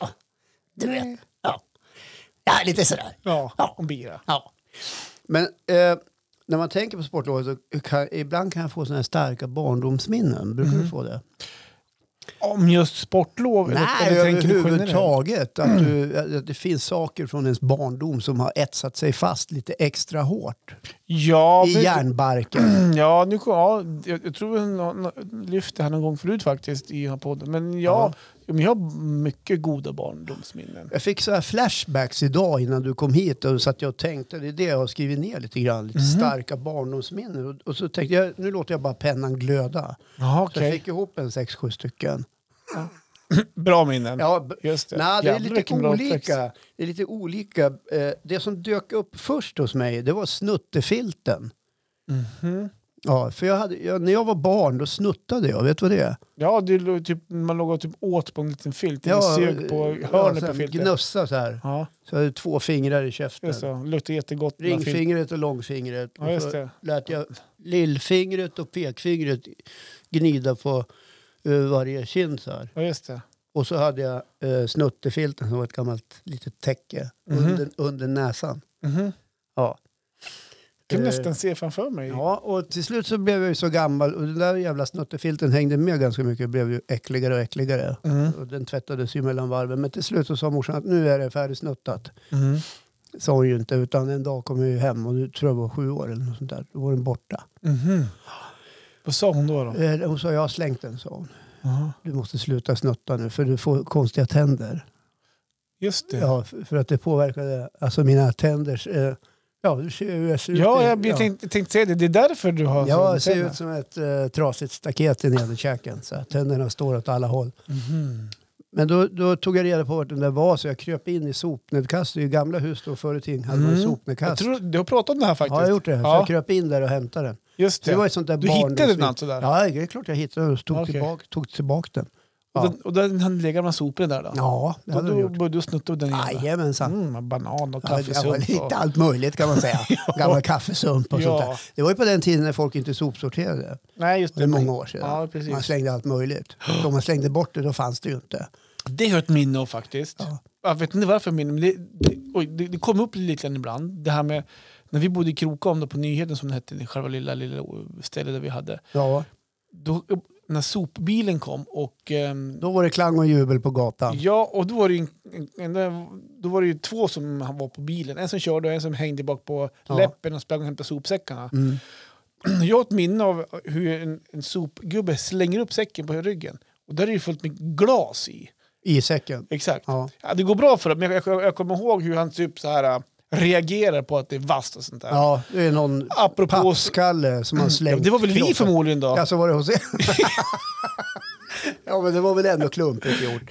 A: Ja, du vet. Ja. ja, lite sådär.
B: Ja,
A: Ja.
B: och bira.
A: Ja. Men eh, när man tänker på sportlovet så kan, ibland kan jag få sådana här starka barndomsminnen. Brukar du få det?
B: Om just sportlov? eller-
A: Nej,
B: eller tänker du Mm. generellt?
A: överhuvudtaget. Att, du, att det finns saker från ens barndom som har etsat sig fast lite extra hårt
B: Ja,
A: i
B: men-
A: hjärnbarken.
B: [clears throat] Ja, nu, kom- ja, jag, jag tror jag lyfte det här någon gång förut faktiskt i den här podden. Men ja, men jag har mycket goda barndomsminnen.
A: Jag fick så här flashbacks idag innan du kom hit och satt jag och tänkte, det är det jag har skrivit ner lite grann,
B: Mm.
A: lite starka barndomsminnen. Och, och så tänkte jag, nu låter jag bara pennan glöda.
B: Jaha,
A: Så jag fick ihop en sex, sju stycken.
B: Bra minnen.
A: Ja, b-
B: Just det.
A: Nej, det är
B: Jävlar,
A: lite
B: vilken bra
A: olika. Det är lite olika. Eh, Det som dök upp först hos mig, det var snuttefilten.
B: Mhm.
A: Ja, för jag hade, jag, när jag var barn då snuttade jag, vet du vad det är?
B: Ja, det låg typ, man låg och typ åt på en liten filt. Ja,
A: Jag eh,
B: sög på
A: ja,
B: hörnet
A: så
B: på
A: här
B: filten.
A: Gnussa så här.
B: Ja,
A: Så jag hade två fingrar i
B: just
A: käften.
B: det. Luktade jättegott. med filt.
A: Ringfingret och långfingret.
B: Ja,
A: och så
B: just det.
A: lät jag lillfingret och pekfingret gnida på eh, varje kind så här.
B: Ja, just det.
A: Och så hade jag eh, snuttefilten som var ett gammalt litet täcke
B: Mhm.
A: under, under näsan.
B: Mhm.
A: Ja.
B: Jag kan
A: Eh,
B: nästan se framför mig.
A: Ja, och till slut så blev jag ju så gammal och den där jävla snuttefilten hängde med ganska mycket och blev ju äckligare och äckligare.
B: Mhm.
A: Och den tvättades ju mellan varven. Men till slut så sa morsan att nu är det färdigsnuttat.
B: Mhm.
A: Sa hon ju inte utan en dag kom jag ju hem och nu tror jag var sju år eller något sånt där. Då var den borta.
B: Mhm. Vad sa hon då? då?
A: Eh, Hon sa jag har slängt den sa hon.
B: Jaha.
A: Du måste sluta snutta nu för du får konstiga tänder.
B: Just det.
A: Ja, för för att det påverkade alltså mina tänders... eh, Ja, du ser ju hur jag ser ut.
B: Ja,
A: i-
B: jag, jag tänkte, tänkte säga det. Det är därför du har
A: Jag
B: sån
A: ser
B: tänder.
A: ut som ett eh, trasigt staket i nederkäken. Så att tänderna står åt alla håll.
B: Mhm.
A: Men då, då tog jag reda på vart den där var så jag kröp in i sopnedkastet. I gamla hus då förr i tiden hade man
B: Mm. Jag
A: sopnedkast.
B: tror, du har pratat om det här faktiskt.
A: ja, jag har gjort det. Så
B: Ja.
A: jag kröp in där och hämtade den.
B: Just
A: Så
B: det.
A: det var ett sånt där
B: du
A: barndomsminne.
B: hittade den alltså där?
A: Ja, det är klart jag hittade den och tog,
B: Okej.
A: tillbaka, tog tillbaka den.
B: Och den, och den han lägger med soporna där då?
A: Ja, det
B: då
A: hade den
B: då
A: gjort.
B: började du snutta den igen?
A: Jajamensan.
B: Mm, banan och
A: Ja, det var
B: kaffesump. och-
A: lite allt möjligt kan man
B: [laughs]
A: säga. Gamla kaffesump och
B: Ja.
A: sånt där. Det var ju på den tiden när folk inte sopsorterade.
B: Nej, just det.
A: Det är många år sedan.
B: Ja, precis.
A: man slängde allt möjligt. Så om man slängde bort det då fanns det ju inte.
B: Det har jag ett minne av faktiskt.
A: Ja.
B: Jag vet inte varför minne, men det, det, oj, det, det kom upp lite grann ibland. Det här med när vi bodde i Krokom då på nyheten som det hette, det själva lilla, lilla stället där vi hade.
A: Ja,
B: Då, när sopbilen kom och ehm,
A: då var det klang och jubel på gatan.
B: Ja, och då var, det ju en, en, en, då var det ju två som var på bilen. En som körde och en som hängde bak på
A: Ja.
B: läppen och sprang och hämtade sopsäckarna.
A: Mm.
B: Jag har ett minne av hur en, en sopgubbe slänger upp säcken på ryggen. Och där är det ju fullt med glas i.
A: I säcken.
B: Exakt. Ja.
A: Ja.
B: det går bra för dem, men jag, jag, jag kommer ihåg hur han typ så här äh, reagerar på att det är vasst och sånt där.
A: ja, det är någon
B: Apropå...
A: pappskalle som har
B: Ja,
A: slängt.
B: det var väl vi
A: kroppen.
B: förmodligen då?
A: Ja, så var det hos er.
B: [laughs]
A: ja, men det var väl ändå klumpigt gjort.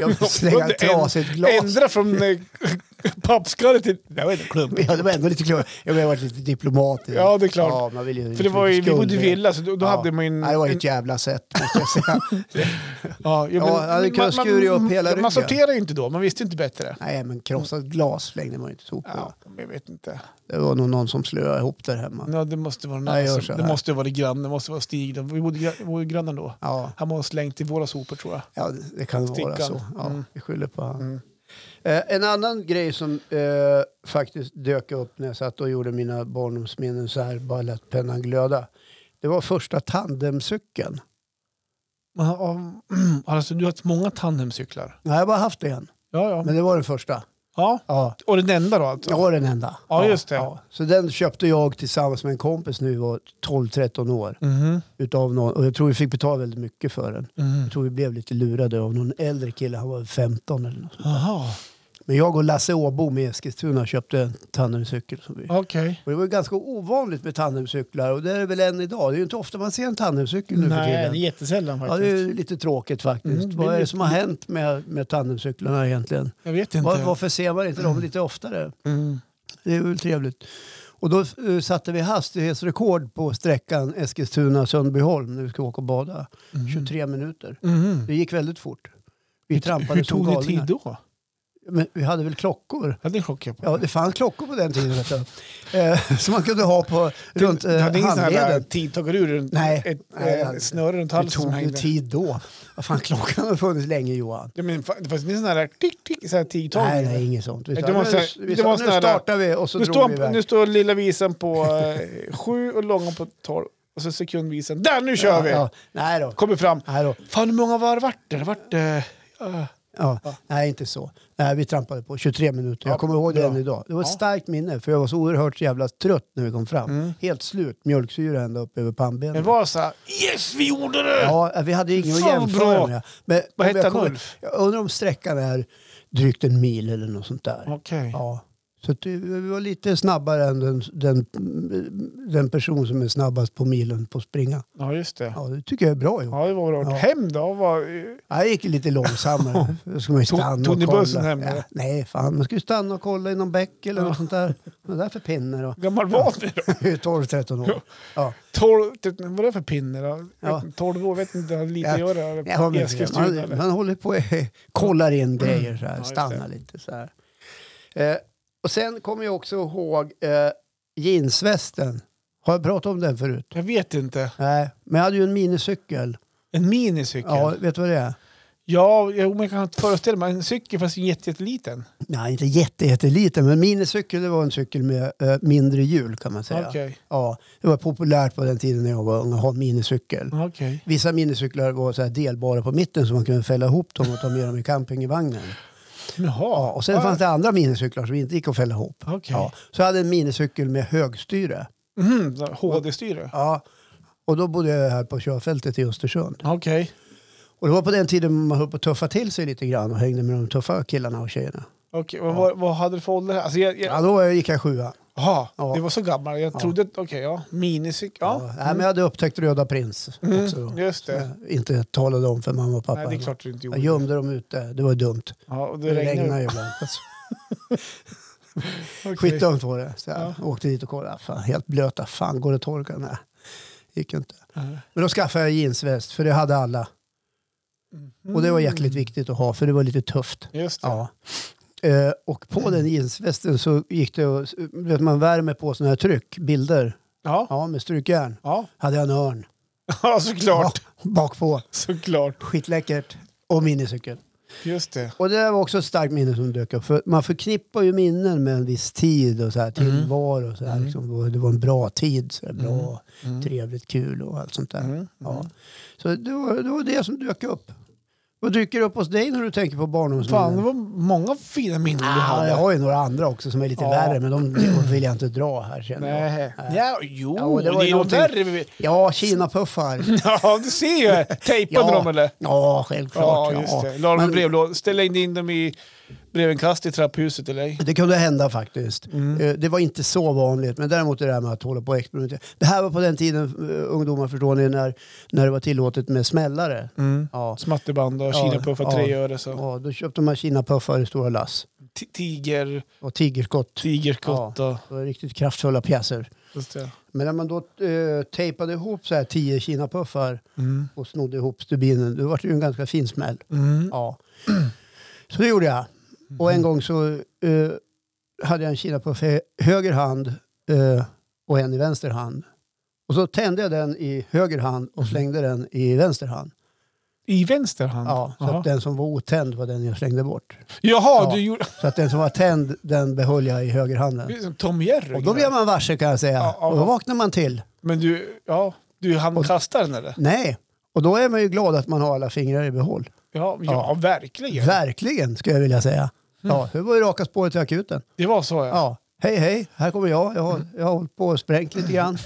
A: Jag slänga ett trasigt glas.
B: Ändra från [laughs] eh, pappskalle till... Jag vet inte, klump.
A: Ja, det var ändå lite klumpigt. Jag har varit lite diplomatisk.
B: Ja, det är klart.
A: Liksom. Ja, man vill ju
B: För det var ju, vi bodde i
A: skuldre.
B: villa, så då, då hade man ju en...
A: Nej, det var ju
B: en
A: ett jävla sätt måste jag
B: [laughs]
A: säga.
B: ja,
A: Ja, jag hade kunnat skura upp hela
B: Man
A: ryggen.
B: sorterade ju inte då, man visste ju inte bättre.
A: Nej, men krossat glas slängde man ju inte sopor.
B: Ja, men jag vet inte.
A: Det var nog någon som slöade ihop där hemma.
B: Ja, det måste vara någon
A: Jag gör
B: annan
A: så
B: som-
A: här.
B: Det måste ju vara grannen, det måste vara Stig. då. Vi bodde, gra- bodde grannen då.
A: Ja,
B: Han måste ha slängt i våra sopor tror jag.
A: ja det- det kan vara
B: Stickan.
A: så. Ja,
B: Mm.
A: Vi skyller på han. Eh, en annan grej som eh, faktiskt dök upp när jag satt och gjorde mina barndomsminnen så här, bara lät pennan glöda. Det var första tandemcykeln. [clears throat]
B: Ja, ja, Alltså, du har haft många tandemcyklar.
A: Nej, jag har bara haft en.
B: Ja, ja.
A: Men det var den första.
B: ja.
A: Ja,
B: Och den enda då alltså?
A: det var den enda.
B: Ja, just det.
A: Så den köpte jag tillsammans med en kompis nu var 12-13 år.
B: Mhm,
A: Utav någon, och jag tror vi fick betala väldigt mycket för den.
B: mhm.
A: Jag tror vi blev lite lurade av någon äldre kille, han var väl 15 eller något.
B: Jaha,
A: Men jag och Lasse Åbom i Eskilstuna köpte en tandemcykel. Som vi.
B: okej.
A: Och det var ju ganska ovanligt med tandemcyklar och det är det väl än idag. Det är ju inte ofta man ser en tandemcykel nu för
C: Nej, det är
A: tiden.
C: jättesällan
A: Ja, det är
C: faktiskt.
A: ju lite tråkigt faktiskt.
B: Mm, det
A: Vad är
B: blir
A: det som har hänt med, med tandemcyklarna egentligen?
B: Jag vet inte.
A: Var, varför ser man inte dem lite oftare?
B: Mm.
A: Det är väl trevligt. Och då eh, satte vi hastighetsrekord på sträckan Eskilstuna-Sundbyholm när vi ska åka och bada. 23 minuter.
B: mm. Mhm.
A: Det gick väldigt fort. Vi trampade
B: Hur
A: som
B: tog ni tid
A: galningar.
B: då?
A: Men vi hade väl klockor?
B: Ja, det chockar jag på.
A: Ja, det fanns klockor på den tiden. Vet du. Eh, [laughs] som man kunde ha på, runt
B: du
A: eh,
B: hade ingen sån här
A: handleden.
B: tidtagare runt
A: Nej,
B: ett
A: nej, det hade
B: eh,
A: jag
B: snöre runt
A: Det
B: halsen som
A: tog ju
B: hängde?
A: tid då. Vad fan, klockan har funnits länge Johan.
B: Ja, men fa- det fanns ingen sån här tick, tick, så här tidtagare?
A: Nej, nej, inget sånt. Vi
B: Det
A: sa,
B: var
A: nu,
B: så här-
A: vi
B: det
A: sa,
B: var
A: nu
B: sån här-
A: startar vi och så
B: nu,
A: drog
B: står,
A: vi
B: han-
A: iväg.
B: nu står lilla visan på eh, sju och långa på tolv. Och så sekundvisan. Där, nu kör
A: ja,
B: vi!
A: Ja. Nej då.
B: Kommer fram.
A: Nej, då.
B: Fan, hur många var vart det? Det vart... Eh, ja.
A: Ja. nej, inte så. Nej, vi trampade på 23 minuter.
B: Ja,
A: Jag kommer ihåg det
B: bra.
A: än idag. Det var ett
B: Ja.
A: starkt minne för jag var så oerhört jävla trött när vi kom fram.
B: Mm.
A: Helt slut. Mjölksyra ända upp över pannbenen.
B: Men var så här, Yes, vi gjorde det! [laughs]
A: Ja, vi hade ju ingen att
B: Fan,
A: jämföra
B: bra.
A: med. Men
B: Vad
A: om jag
B: hette han,
A: kommer-
B: Ulf?
A: Jag undrar om sträckan är drygt en mil eller något sånt där.
B: Okej.
A: Ja. Så att det- vi var lite snabbare än den, den, den person som är snabbast på milen på att springa.
B: Ja, just det.
A: Ja, det tycker jag är bra gjort.
B: Ja, det var bra.
A: Ja.
B: Hem då? Var, eh,
A: Ja, det gick lite långsammare. Då ska man ju
B: Tog-
A: stanna
B: tog
A: och
B: ni
A: kolla.
B: bussen hem,
A: Ja,
B: eller?
A: nej, fan. Man ska ju stanna och kolla i någon bäck eller något sånt där. Vad är det för pinne då?
B: hur gammal var ni då?
A: 12-13 år. Ja.
B: 12, typ, vad är det för pinne då?
A: Ja.
B: 12 år, vet inte, det hade lite
A: Ja.
B: att göra.
A: Ja, men
B: i Eskilstuna
A: man,
B: eller?
A: man håller på [laughs] kollar in grejer så här,
B: Mm. Ja, just
A: stannar lite så här. Eh, och sen kommer jag också ihåg eh, jeansvästen. Har jag pratat om den förut?
B: Jag vet inte.
A: Nej, men jag hade ju en minicykel.
B: En minicykel?
A: Ja,
B: Ja,
A: vet du vad det är?
B: ja jo, men jag kan föreställa mig. En cykel fast jätte- jätteliten.
A: Nej, inte jätte, jätteliten, men minicykel det var en cykel med eh, mindre hjul kan man säga.
B: Okej. Okay.
A: Ja, det var populärt på den tiden när jag var ung att ha en minicykel.
B: Mm.
A: Vissa minicyklar var så här delbara på mitten så man kunde fälla ihop dem och ta med dem i camping i vagnen. Ja,
B: Jaha.
A: och sen fanns det andra minicyklar som inte gick att fälla ihop.
B: Okej.
A: Ja, så jag hade en minicykel med högstyre.
B: Mm, så här HD-styre?
A: Ja, och då bodde jag här på körfältet i Östersund.
B: Okej.
A: Och det var på den tiden man höll på att tuffa till sig lite grann och hängde med de tuffa killarna och tjejerna.
B: Okej, vad- vad, vad hade du för ålder? Alltså, jag, jag,
A: Ja, då var jag- gick jag sjua.
B: aha,
A: Ja.
B: det var så gammal. Jag trodde... Okej, ja. Minicykel.
A: Ja.
B: Ja. Mm,
A: nej, men jag hade upptäckt Röda Prins också då.
B: Just
A: Som
B: det.
A: jag inte talade om för mamma och pappa.
B: Nej, det är
A: hemma.
B: klart du inte
A: jag
B: gjorde.
A: gömde dem ute. Det var dumt.
B: Ja, och det,
A: Det,
B: regnade.
A: regnade ju
B: [laughs]
A: ibland. Alltså,
B: Okej.
A: Skitdumt var det. Så jag
B: Ja.
A: åkte dit och kollade. Fan, helt blöta. Fan, går det att torka? Nej, gick inte.
B: Nej.
A: Men då skaffade jag jeansväst, för det hade alla. Och det var
B: Mm.
A: jäkligt viktigt att ha, för det var lite tufft.
B: Just det.
A: Ja. Eh, och på den jeansvästen så gick det och, du vet, man värmer på sådana här tryck, bilder.
B: Ja.
A: Ja, med strykjärn.
B: Ja.
A: Hade jag en örn.
B: ja, såklart.
A: Ja, bak på.
B: Såklart.
A: Skitläckert. Och minicykel.
B: Just det.
A: Och det där var också ett starkt minne som dök upp. För man förknippar ju minnen med en viss tid och så här,
B: Mm.
A: tillvaro. Och så här, liksom, och det var en bra tid. Så här, bra,
B: Mm.
A: trevligt, kul och allt sånt där. Ja. Så det var, det var det som dök upp. Vad dyker upp hos dig när du tänker på
B: Fan, det
A: barndomsminnen?
B: var många fina minnen du
A: Ja,
B: hade.
A: Ah, jag har ju några andra också som är lite
B: Ja.
A: värre, men de de vill jag inte dra här känner jag.
B: Nej. Ja, jo,
A: Ja, och
B: det,
A: det var ju
B: är ju
A: någonting-
B: värre. vi-
A: Ja,
B: [laughs]
A: Kinapuffar.
B: Ja, du
A: [laughs]
B: ser ju. Tejpade
A: Ja.
B: dem eller?
A: Ja, självklart.
B: ja, just
A: ja.
B: det. La dem i
A: Men-
B: brevlådan. Ställde in dem i brevinkast i trapphuset eller ej?
A: Det kunde hända faktiskt. Eh, Det var inte så vanligt, men däremot det där med att hålla på och experimentera. Det här var på den tiden, eh, ungdomar förstår ni, när, när det var tillåtet med smällare. Ja.
B: Smatterband och
A: Ja,
B: kinapuffar,
A: ja.
B: tre öre. Så.
A: Ja, då köpte man kinapuffar i stora lass
B: Ti- Tiger,
A: och tigerskott.
B: tigerkott och...
A: Det var riktigt kraftfulla pjäser.
B: Just det.
A: Men när man då eh, tejpade ihop så här tio kinapuffar
B: Mm.
A: och snodde ihop stubinen, då var det ju en ganska fin smäll.
B: Mm.
A: Ja. Så det gjorde jag. Och en gång så eh, hade jag en kina på hö- höger hand eh, och en i vänster hand. Och så tände jag den i höger hand
B: Mm.
A: och slängde den i vänster hand.
B: I vänster hand?
A: Ja, så
B: Jaha.
A: att den som var otänd var den jag slängde bort.
B: Jaha,
A: Ja.
B: du gjorde...
A: Så att den som var tänd, den behöll jag i
B: Du
A: högerhanden.
B: är som [laughs] Tom Jerry.
A: Och då blev man varse kan jag säga.
B: Ja, ja, ja.
A: Och då vaknar man till.
B: Men du, ja, du hann
A: Och-
B: kasta den eller?
A: Nej. Och då är man ju glad att man har alla fingrar i behåll.
B: Ja, ja, Mm.
A: Ja.
B: verkligen.
A: Verkligen, skulle jag vilja säga. Ja, det var ju raka spåret till akuten.
B: det var så ja. Mm.
A: Ja, hej hej, här kommer jag. Jag har, jag har hållit på och sprängt lite grann.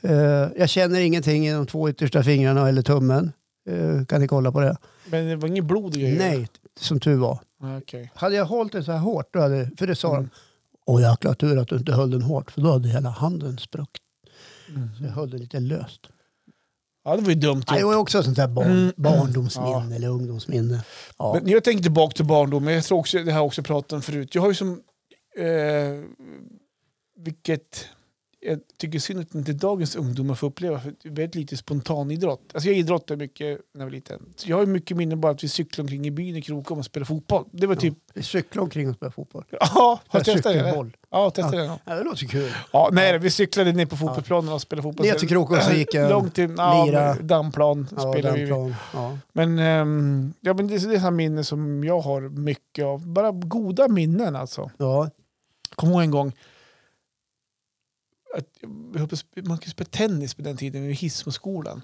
A: Eh, jag känner ingenting i de två yttersta fingrarna eller tummen. Eh, kan ni kolla på det?
B: Men det var inget blod i grejer?
A: Nej, som tur var.
B: Ah, okej.
A: Hade jag hållit den så här hårt, då hade, för det sa
B: Mm.
A: de. Åh jäkla tur att du inte höll den hårt, för då hade hela handen spruckit. Så jag höll den lite löst.
B: Ja, det var ju dumt.
A: Nej, Det var ju också sånt där barn,
B: Typ. Mm.
A: barndomsminne eller ungdomsminne. Ja.
B: Men jag tänkte tillbaka till barndomen. Jag tror också, det har jag också pratat om förut. Jag har ju som... Eh, vilket jag tycker är synd att inte dagens ungdomar får uppleva. För det är väldigt lite spontanidrott. Alltså jag idrottade mycket när jag var liten. Så jag har ju mycket minnen bara att vi cyklade omkring i byn i Krokom och spelade fotboll. Det var typ...
A: Vi cyklade omkring och spelade fotboll.
B: Ja, har du testat det? eller?
A: Cykelboll.
B: Ja, testade det.
A: Ja, det låter kul.
B: Ja, nej, vi cyklade ner på fotbollsplanen och spelade fotboll.
A: Ner till Krokom så gick jag.
B: Långt till ja,
A: Lira.
B: dammplan
A: Ja,
B: spelade vi.
A: dammplan. Ja.
B: Men, ehm, ja, men det är sådana minnen som jag har mycket av. Bara goda minnen alltså.
A: Ja.
B: Kom ihåg en gång. Att, jag höll på att sp- man kunde spela tennis på den tiden i Hismoskolan.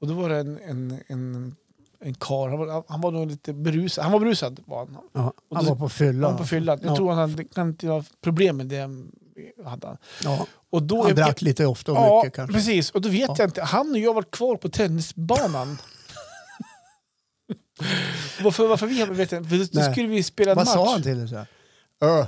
B: Och då var det en, en, en, en karl, han var, han var nog lite berusad. Han var berusad var han.
A: Ja.
B: Och
A: Han
B: då-
A: var på fylla.
B: Han var på fyllan. Jag
A: Ja.
B: tror han hade, kan inte ha problem med det. ehm, Hade han.
A: Ja.
B: Och då,
A: Han
B: jag-
A: drack lite ofta och
B: Ja,
A: mycket kanske.
B: precis. Och då vet
A: Ja.
B: jag inte. Han och jag var kvar
A: [laughs]
B: på tennisbanan. varför, varför vi vet jag inte. För då- då
A: Nej.
B: skulle vi spela en
A: Vad
B: match.
A: sa han till dig? så här? Ö,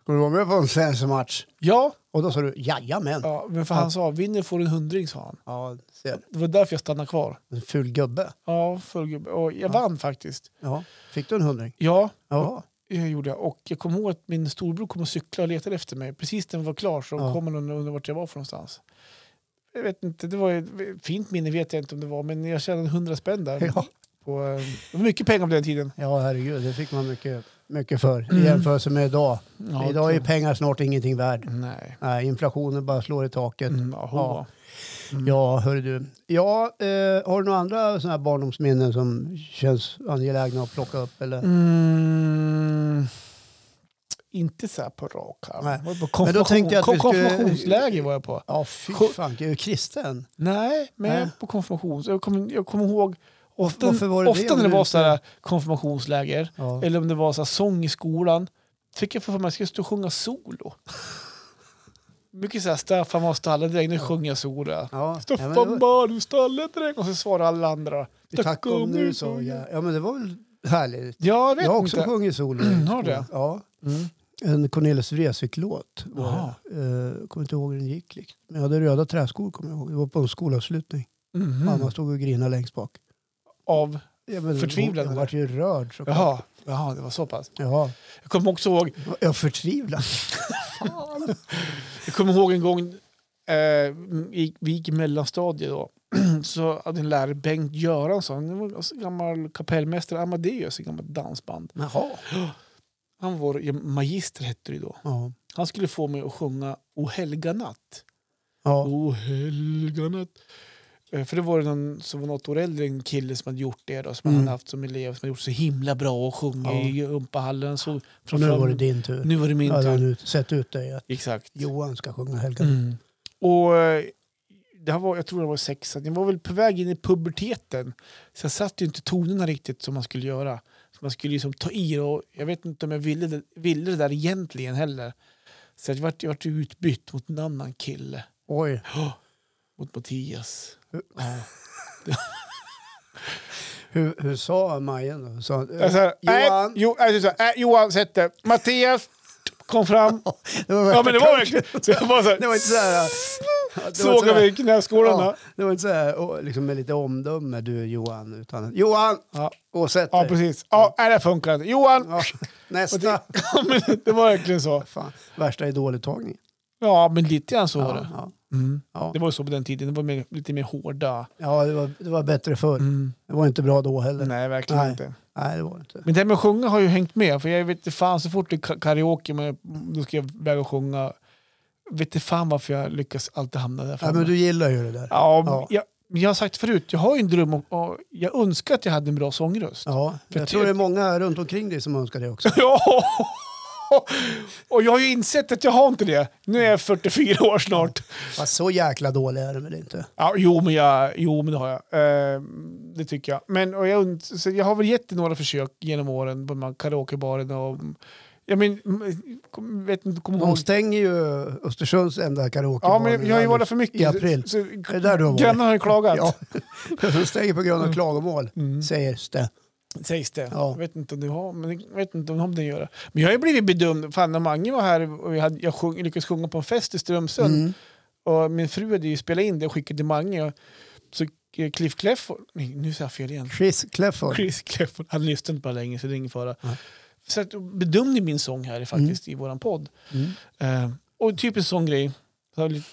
A: Ska du vara med på en svensk match?
B: Ja,
A: Och då sa du jajamän. Ja.
B: ja, men för han sa vinner får du en hundring, sa han.
A: ja se.
B: Det var därför jag stannade kvar.
A: En ful gubbe.
B: Ja, full gubbe. Och jag vann faktiskt.
A: Ja. Fick du en hundring?
B: Ja,
A: Ja.
B: det gjorde jag. Och jag kommer ihåg att min storbror kom och cyklade och letade efter mig. Precis när den var klar så
A: Ja.
B: kom han och undrade vart jag var för någonstans. Jag vet inte, det var ju fint minne vet jag inte om det var, men jag tjänade 100 spänn där.
A: Ja.
B: På, eh, det var mycket pengar på den tiden.
A: ja, herregud. Det fick man mycket, mycket för i jämförelse med idag.
B: Ja,
A: idag är ju
B: det-
A: pengar snart ingenting värd.
B: Nej.
A: Nej, inflationen bara slår i taket.
B: Mm, ja, hon
A: Ja.
B: var.
A: Ja, hör du. Ja, eh, har du några andra såna här barndomsminnen som känns angelägna att plocka upp? Eller?
B: Mm, inte så här på rak arm.
A: Nej.
B: Jag var på
A: Men då tänkte jag att
B: konfirmation-
A: vi skulle-
B: Konfirmationsläger var jag på.
A: Ja, fy
B: Ko-
A: fan. Är du kristen?
B: Nej, men jag
A: Nej.
B: var på konfirmation. Jag kommer, jag kommer ihåg ofta,
A: Varför var det det
B: ofta
A: om
B: när det
A: du
B: var
A: inte-
B: så här konfirmationsläger
A: Ja.
B: eller om det var så här sång i skolan. Fick jag för mig att jag skulle sjunga solo. Mycket så här Staffan var stalledräng, nu sjunger jag solo.
A: Ja, ja, men det
B: Staffan
A: var-
B: var du stalledräng? Och så svarar alla andra.
A: Tack om du sa ja. Ja, men det var väl härligt.
B: Ja, jag vet
A: Jag har också
B: inte.
A: sjungit solo.
B: Har du?
A: Ja.
B: Mm.
A: En Cornelis Vreeswijk-låt. var
B: Jaha.
A: det. Eh, Kommer inte ihåg hur den gick. Liksom. Men jag hade röda träskor kommer jag ihåg. Det var på en skolavslutning.
B: Mhm.
A: Mamma stod och grinade längst bak.
B: Av...
A: Ja, men
B: Förtvivlad,
A: Hon, hon
B: eller?
A: vart ju rörd. Så
B: Jaha, jaha, det var så pass.
A: Ja.
B: Jag kommer också ihåg,
A: Jag förtvivlad.
B: jag kommer ihåg en gång, eh, vi, vi gick i mellanstadiet då, [clears throat] så hade en lärare, Bengt Göransson, han var en gammal kapellmästare, Amadeus, ett gammalt dansband.
A: Jaha.
B: Han var ja, magister hette det då.
A: Ja.
B: Han skulle få mig att sjunga O helga natt.
A: Ja.
B: O helga natt. Eh, För det var det någon som var något år äldre, en kille som hade gjort det då, som
A: Mm.
B: han hade haft som elev, som hade gjort så himla bra och sjungit
A: Ja.
B: i Umpahallen. Så
A: Och
B: från
A: nu
B: fram-
A: var det din tur.
B: Nu var det min
A: Jag hade
B: tur.
A: nu sett ut dig att
B: Exakt.
A: Johan ska sjunga Helga.
B: Mm. Och eh, det här var, jag tror det var sexan. Jag var väl på väg in i puberteten. Så jag satt ju inte tonerna riktigt som man skulle göra. Så man skulle liksom ta i det och jag vet inte om jag ville det, ville det där egentligen heller. Så jag vart, jag vart ju utbytt mot en annan kille.
A: Oj.
B: Mot Mattias.
A: Hur, hur sa Majen då? Sa, han,
B: Jag sa,
A: Johan.
B: Johan. Eh, alltså, jo, jag sa, äh, Johan sätt dig. Mattias kom fram.
A: Det var
B: [laughs] Ja men det var verkligen... [laughs] Så jag bara så
A: Det
B: här, eh,
A: var inte så här... Ja, [laughs] det var
B: såg
A: inte så
B: över
A: här-
B: knäskålarna.
A: Ja, det var inte så här och liksom med lite omdöme du Johan. Utan, Johan!
B: Ja.
A: Och sätt
B: Ja
A: dig.
B: precis. Ja, nej, det funkar inte. Johan!
A: Ja,
B: Och
A: nästa!
B: det, ja, men det var verkligen så.
A: Fan, värsta idoluttagningen.
B: Ja, men lite grann så var det.
A: Ja,
B: Mm.
A: ja.
B: Det var ju så på den tiden. Det var mer, lite mer hårda.
A: ja det, var, det var bättre förr. Det var inte bra då heller. Nej,
B: Mm. Nej, verkligen
A: Nej.
B: inte.
A: det var det inte.
B: Men det här med att sjunga har ju hängt med. För jag vet inte fan, så fort det är ka- karaoke, men då ska jag väga och sjunga. Vet inte fan varför jag lyckas alltid hamna där
A: Ja,
B: framme.
A: men du gillar ju det där.
B: Ja,
A: Ja.
B: Jag, men jag har sagt förut, jag har ju en dröm om, och jag önskar att jag hade en bra sångröst.
A: Ja,
B: För
A: jag
B: ty-
A: tror det är många runt omkring dig som önskar det också.
B: [laughs] Ja! och jag har ju insett att jag har inte det. Nu är jag 44 år snart.
A: Fast så jäkla dålig är den väl inte?
B: Ja, jo, men jag, jo, men det har jag. Eh, det tycker jag. Men och jag, und- så jag har väl gett det några försök genom åren på de här karaokebaren och... Jag men, m- kom, vet inte, kommer
A: De
B: ihåg.
A: stänger ju Östersunds enda karaoke.
B: Ja, men jag har ju varit där för mycket.
A: I april.
B: Så,
A: det där du har varit?
B: grannarna har ju klagat,
A: Ja, [laughs] de stänger på
B: Mm.
A: grund av klagomål, säger det.
B: sägs det.
A: Ja.
B: Jag vet inte om det har, men jag vet inte om det gör det. Men jag har ju blivit bedömd. Fan, när Mange var här och jag, hade, jag sjung, lyckades sjunga på en fest i Strömsund
A: Mm.
B: och min fru hade ju spelat in det och skickat till Mange. Och, så eh, Cliff Clefford, nej nu sa jag fel igen.
A: Chris Clefford.
B: Chris Clefford. Han lyssnade inte på det länge så det är ingen fara.
A: Nej.
B: Så att, bedömde min sång här faktiskt i våran podd.
A: Mm.
B: Eh, och typ en sån grej. Så har jag lite-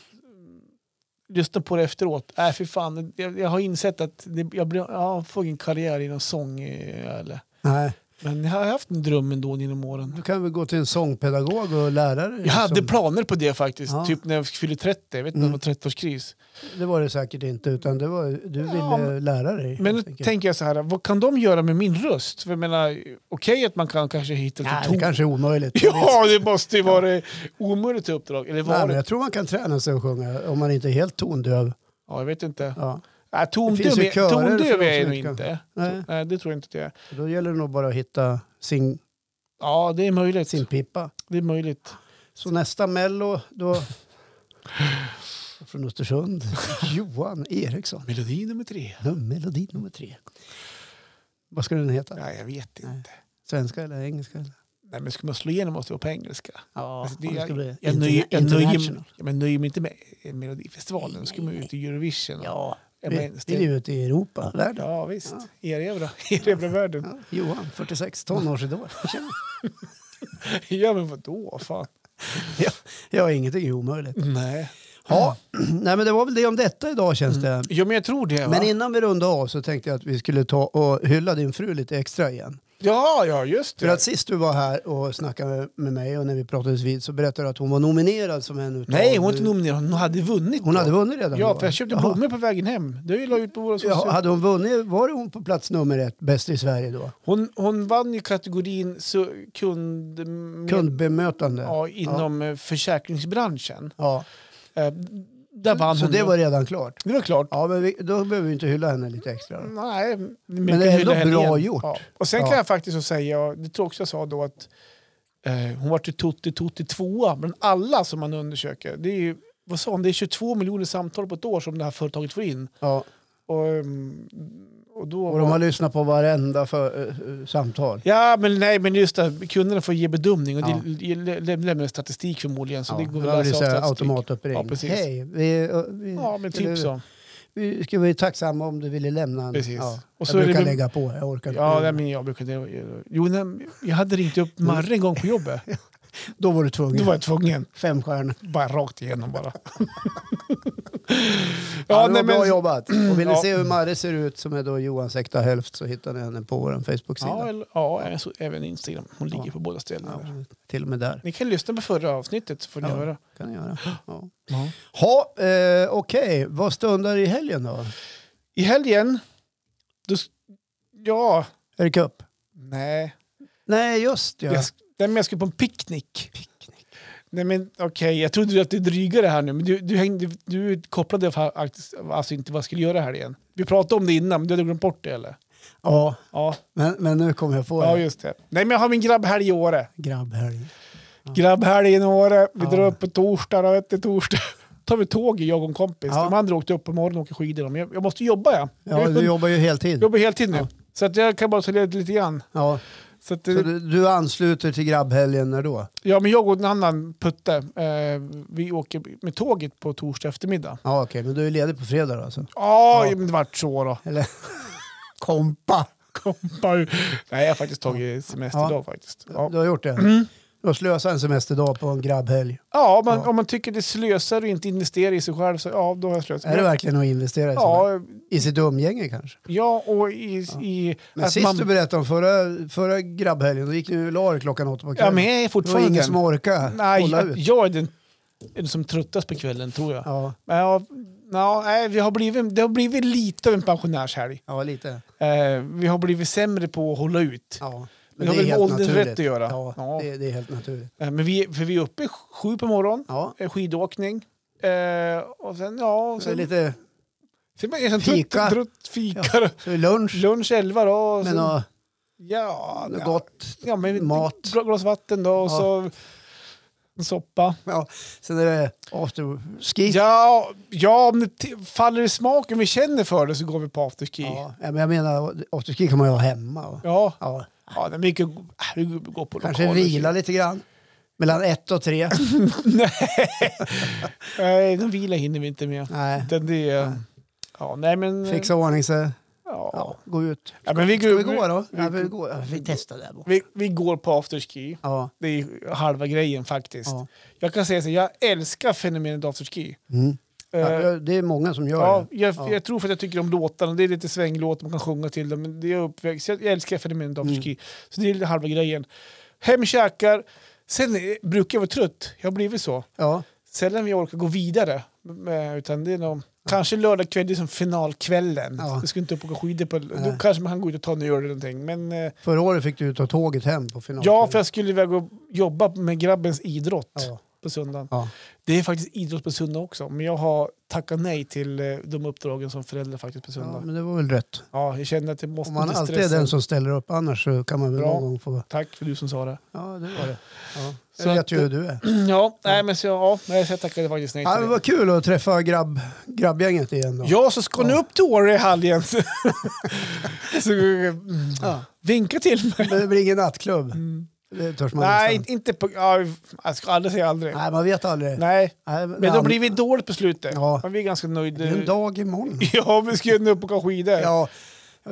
B: lyssnat på det efteråt. Äh, för fan, jag, jag har insett att det, jag, blir, jag får ingen karriär inom sång. eh, Eller.
A: Nej,
B: Men jag har haft en dröm ändå genom åren.
A: du kan väl gå till en sångpedagog och liksom. lärare.
B: Jag hade
A: som-
B: planer på det faktiskt.
A: Ja. Mm.
B: Typ när jag fyllde 30. Jag vet inte om det var 30-årskris.
A: Det var det säkert inte, utan det var, du ville
B: Ja,
A: lära dig.
B: Men nu
A: helt enkelt.
B: tänker jag så här, vad kan de göra med min röst? För jag menar, okej att man kan kanske hitta lite
A: Nej,
B: ton-
A: det kanske är omöjligt.
B: [laughs] Ja, det måste ju vara det omöjliga uppdrag. Eller var
A: Nej, men
B: det?
A: jag tror man kan träna sig att sjunga om man inte är helt tondöv.
B: Ja, jag vet inte.
A: Ja.
B: Ja,
A: Det finns
B: tondöv
A: ju
B: är-
A: körer för
B: tondöv
A: de
B: är
A: som
B: jag nog
A: inte kan.
B: inte.
A: Nej.
B: Nej, det tror jag inte det är.
A: Då gäller det nog bara att hitta sin,
B: Ja, det är möjligt.
A: sin pipa.
B: Det är möjligt.
A: Så nästa mello då... Från [laughs] Östersund, Johan Eriksson.
B: Melodi nummer tre.
A: Melodi nummer tre. Vad skulle den heta?
B: Nej, jag vet inte. Nej,
A: Svenska eller engelska? Eller?
B: men ska man slå igenom måste det vara på engelska.
A: Ja,
B: Alltså, det,
A: om det
B: jag,
A: ska bli
B: jag, nöjer, jag, nöjer,
A: international.
B: ja, men nöjer mig inte med Melodifestivalen. Då ska man ju ut i Eurovision. och-
A: Ja,
B: Ja,
A: vi,
B: men-
A: vi är ju ute i Europa, världen.
B: ja visst. Erövra. Erövra världen.
A: Ja, Johan, 46 [laughs] tonårsidol. Tjena.
B: Ja, men vadå? Fan.
A: ja, ja, ingenting är omöjligt.
B: Nej.
A: Ja, [clears throat] nej, men det var väl det om detta idag känns det.
B: Ja, men jag tror det. Va?
A: Men innan vi rundar av så tänkte jag att vi skulle ta och hylla din fru lite extra igen.
B: Ja, ja, just det.
A: För att sist du var här och snackade med- med mig och när vi pratades vid så berättade du att hon var nominerad som en utav...
B: Nej, hon var inte nominerad. Hon hade vunnit.
A: Hon
B: då.
A: hade vunnit redan
B: Ja,
A: då?
B: för jag köpte
A: Jaha.
B: blommor på vägen hem. Det la jag ut på våra sociala...
A: Ja, hade hon vunnit, var det hon på plats nummer ett, bäst i Sverige då?
B: hon, hon vann ju kategorin så, kund...
A: Kundbemötande?
B: Ja, inom eh, försäkringsbranschen.
A: Ja.
B: Eh, Där vann
A: Så
B: hon.
A: det
B: ju.
A: var redan klart?
B: det var klart.
A: Ja, men vi, då behöver vi inte hylla henne lite extra. då.
B: Nej, men
A: det är ändå bra gjort.
B: Och sen
A: Ja.
B: kan jag faktiskt så säga, och det tror jag också jag sa då, att eh, hon vart ju Tutti Tutti tvåa bland alla som man undersöker. Det är ju, vad sa hon, det är 22 miljoner samtal på ett år som det här företaget får in.
A: Ja.
B: Och, ehm, och då...
A: Och de har lyssnat på varenda för, eh, samtal.
B: Ja, men nej, men just det, kunderna får ge bedömning och det lä- lä- lämnar statistik förmodligen. Så det går väl att läsa av
A: läsa
B: statistik. Ja,
A: automatuppring.
B: precis.
A: Hej, vi, eh, vi,
B: Ja, men
A: skulle-
B: typ så.
A: Vi skulle vara tacksamma om du ville lämna en.
B: Precis.
A: Ja.
B: Och så är
A: jag
B: det
A: brukar
B: väl-
A: lägga på, jag orkar
B: Ja, nej,
A: inte.
B: men jag brukade... Jo, nej, jag hade ringt upp Marre en gång på jobbet.
A: [laughs] Då var du
B: Då
A: tvungen.
B: var jag tvungen.
A: Fem stjärnor.
B: Bara rakt
A: [laughs]
B: igenom bara.
A: Ja, det var
B: nej,
A: bra
B: men-
A: jobbat. Och vill ni
B: Ja.
A: se hur Marre ser ut, som är då Johans äkta hälft, så hittar ni henne på vår
B: Ja,
A: Facebook-sida.
B: eller, ja även, så, även Instagram. Hon ligger
A: Ja.
B: på båda ställena.
A: Ja, till och med där
B: Ni kan lyssna på förra avsnittet så får ni
A: Ja.
B: höra.
A: kan ni göra. Ja.
B: Ja.
A: Ha, eh, Okej, vad stundar i helgen då?
B: I helgen, då... s- Ja,
A: Är det cup?
B: nej.
A: Nej, just ja.
B: Jag, sk- nej, men jag ska på en picknick. Nej men okej, jag trodde ju att du drygade här nu, men du, du, hängde, du kopplade faktiskt alltså inte vad jag skulle göra här igen. Vi pratade om det innan, men du hade glömt bort det eller?
A: Ja,
B: Ja,
A: men, men nu kommer jag på
B: ja
A: det.
B: just det. Nej men jag har min grabbhelg i Åre.
A: Grabbhelg.
B: Grabbhelgen i Åre, vi
A: Ja.
B: drar upp på torsdag, då, vet du, torsdag. [laughs] tar vi tåget jag och en kompis.
A: Ja.
B: De andra åkte upp på morgonen och åker skidor. Men jag, jag måste jobba ja.
A: Ja,
B: jag [laughs]
A: du jobbar ju heltid.
B: jobbar heltid nu. Så att jag kan bara ta ledigt lite grann.
A: Ja.
B: Så att, eh,
A: Så du, du ansluter till grabbhelgen när då?
B: ja, men jag och en annan putte, eh, vi åker med tåget på torsdag eftermiddag.
A: Ja, okej, men du är ledig på fredag då alltså?
B: Ja,
A: Ja.
B: men det vart så då. [laughs]
A: Eller? Kompa!
B: Kompa ur. Nej, jag har faktiskt tagit semesterdag
A: Ja.
B: faktiskt. Ja,
A: Du har gjort det? Du har slösat en semesterdag på en grabbhelg.
B: [clears throat] ja, men
A: Ja.
B: om man tycker det slösar och inte investerar i sig själv så ja, då har jag slösat.
A: Är det verkligen att investera i, ja.
B: Ja,
A: i sitt umgänge kanske?
B: ja, och i... i
A: Men
B: att
A: sist
B: Alltså, man,
A: du berättade om förra, förra grabbhelgen, då gick ni ju och la er klockan åtta på
B: ja,
A: kvällen.
B: men jag är
A: det var
B: fortfarande
A: ingen
B: den.
A: som orkade
B: Nej,
A: hålla
B: jag,
A: ut.
B: jag är den, den som tröttas på kvällen tror jag.
A: Ja,
B: Men ja, ja, nej, vi har blivit, det har blivit lite av en pensionärshelg.
A: ja lite.
B: Eh, vi har blivit sämre på att hålla ut.
A: Ja. Men
B: Men
A: det
B: det har
A: är
B: väl med
A: helt
B: åldern
A: naturligt.
B: rätt att göra.
A: Ja,
B: Ja.
A: Det, det är helt naturligt.
B: Eh, Men vi, för vi är uppe sju på morgonen,
A: Ja,
B: eh, skidåkning. Eh, och sen, ja, och
A: så är
B: sen,
A: det lite
B: sen man är man
A: fika.
B: trött, trött, fika.
A: så är det lunch,
B: Lunch elva då. Och
A: men
B: sen,
A: och,
B: ja,
A: något
B: ja.
A: gott.
B: Ja, men
A: Mat.
B: ett gla- glas vatten då och
A: Ja.
B: så en soppa.
A: Ja, sen är det afterski.
B: Ja, ja, om det t- faller i smaken, vi känner för det så går vi på afterski. Ja,
A: Ja, men jag menar, afterski kan man ju ha hemma. Och,
B: ja.
A: ja,
B: det är mycket äh, vi går på
A: kanske
B: lokaler.
A: vila lite grann. Mellan ett och
B: [clears throat]
A: tre.
B: Nej, den vila hinner vi inte med.
A: Nej,
B: Utan det är... Ja, nej men...
A: fixa ordning sig.
B: Mm. Ja.
A: Ja, gå ut.
B: Ja, men vi,
A: Ska
B: går,
A: vi gå då?
B: vi-
A: Ja, vi, går. Ja, vi testar där borta.
B: Vi, vi går på afterski.
A: Ja,
B: Det är halva grejen faktiskt.
A: ja.
B: Jag kan säga så här, jag älskar fenomenet afterski.
A: Mm.
B: Eh,
A: ja, det är många som gör
B: Ja,
A: det.
B: jag,
A: Ja.
B: jag tror för att jag tycker om låtarna. Det är lite svänglåt, man kan sjunga till dem. Men det är jag uppväxt. Jag, jag älskar fenomenet
A: Mm.
B: afterski. Så det är lite halva grejen. Hem, käkar. Sen eh, brukar jag vara trött. Jag har blivit så.
A: Ja,
B: Sällan vi orkar gå vidare. Med, utan det är nog, Kanske lördag kväll, det är som finalkvällen.
A: Ja.
B: Jag ska inte upp och åka skidor. På, då
A: Nej.
B: kanske man kan gå ut och ta en öl eller någonting. Men, eh,
A: förra året fick du ta tåget hem på finalen.
B: ja, för jag skulle iväg och jobba med grabbens idrott
A: Ja,
B: på söndagen.
A: ja.
B: Det är faktiskt idrott på söndag också. Men jag har tackat nej till eh, de uppdragen som förälder faktiskt på söndag.
A: ja, men det var väl rätt.
B: Ja, jag känner att det måste
A: Om man
B: bli
A: alltid är
B: stressen.
A: den som ställer upp annars så kan man väl
B: Bra.
A: någon gång få...
B: Tack för du
A: [clears throat]
B: som sa det.
A: Ja, det var det. Ja.
B: Så
A: Jag
B: att-
A: vet ju hur du är.
B: Ja, nej men så, ja, nej, så jag tackade faktiskt nej
A: Ja,
B: till
A: men
B: det.
A: vad kul att träffa grabb, grabbgänget igen då.
B: Ja, så ska ni
A: Ja.
B: upp till Åre i helgen. [laughs] så, så, mm,
A: Ja.
B: vinka till mig.
A: Men det blir ingen nattklubb.
B: Mm.
A: Det törs man
B: Nej,
A: nästan.
B: inte- inte på... Ja, jag ska aldrig säga aldrig.
A: Nej, man vet aldrig.
B: Nej,
A: Nej,
B: men då blir vi dåligt på slutet.
A: Ja.
B: Men vi är ganska
A: det är en
B: nöjda.
A: dag imorgon.
B: [laughs] Ja, vi ska ju upp och åka skidor.
A: Ja, jag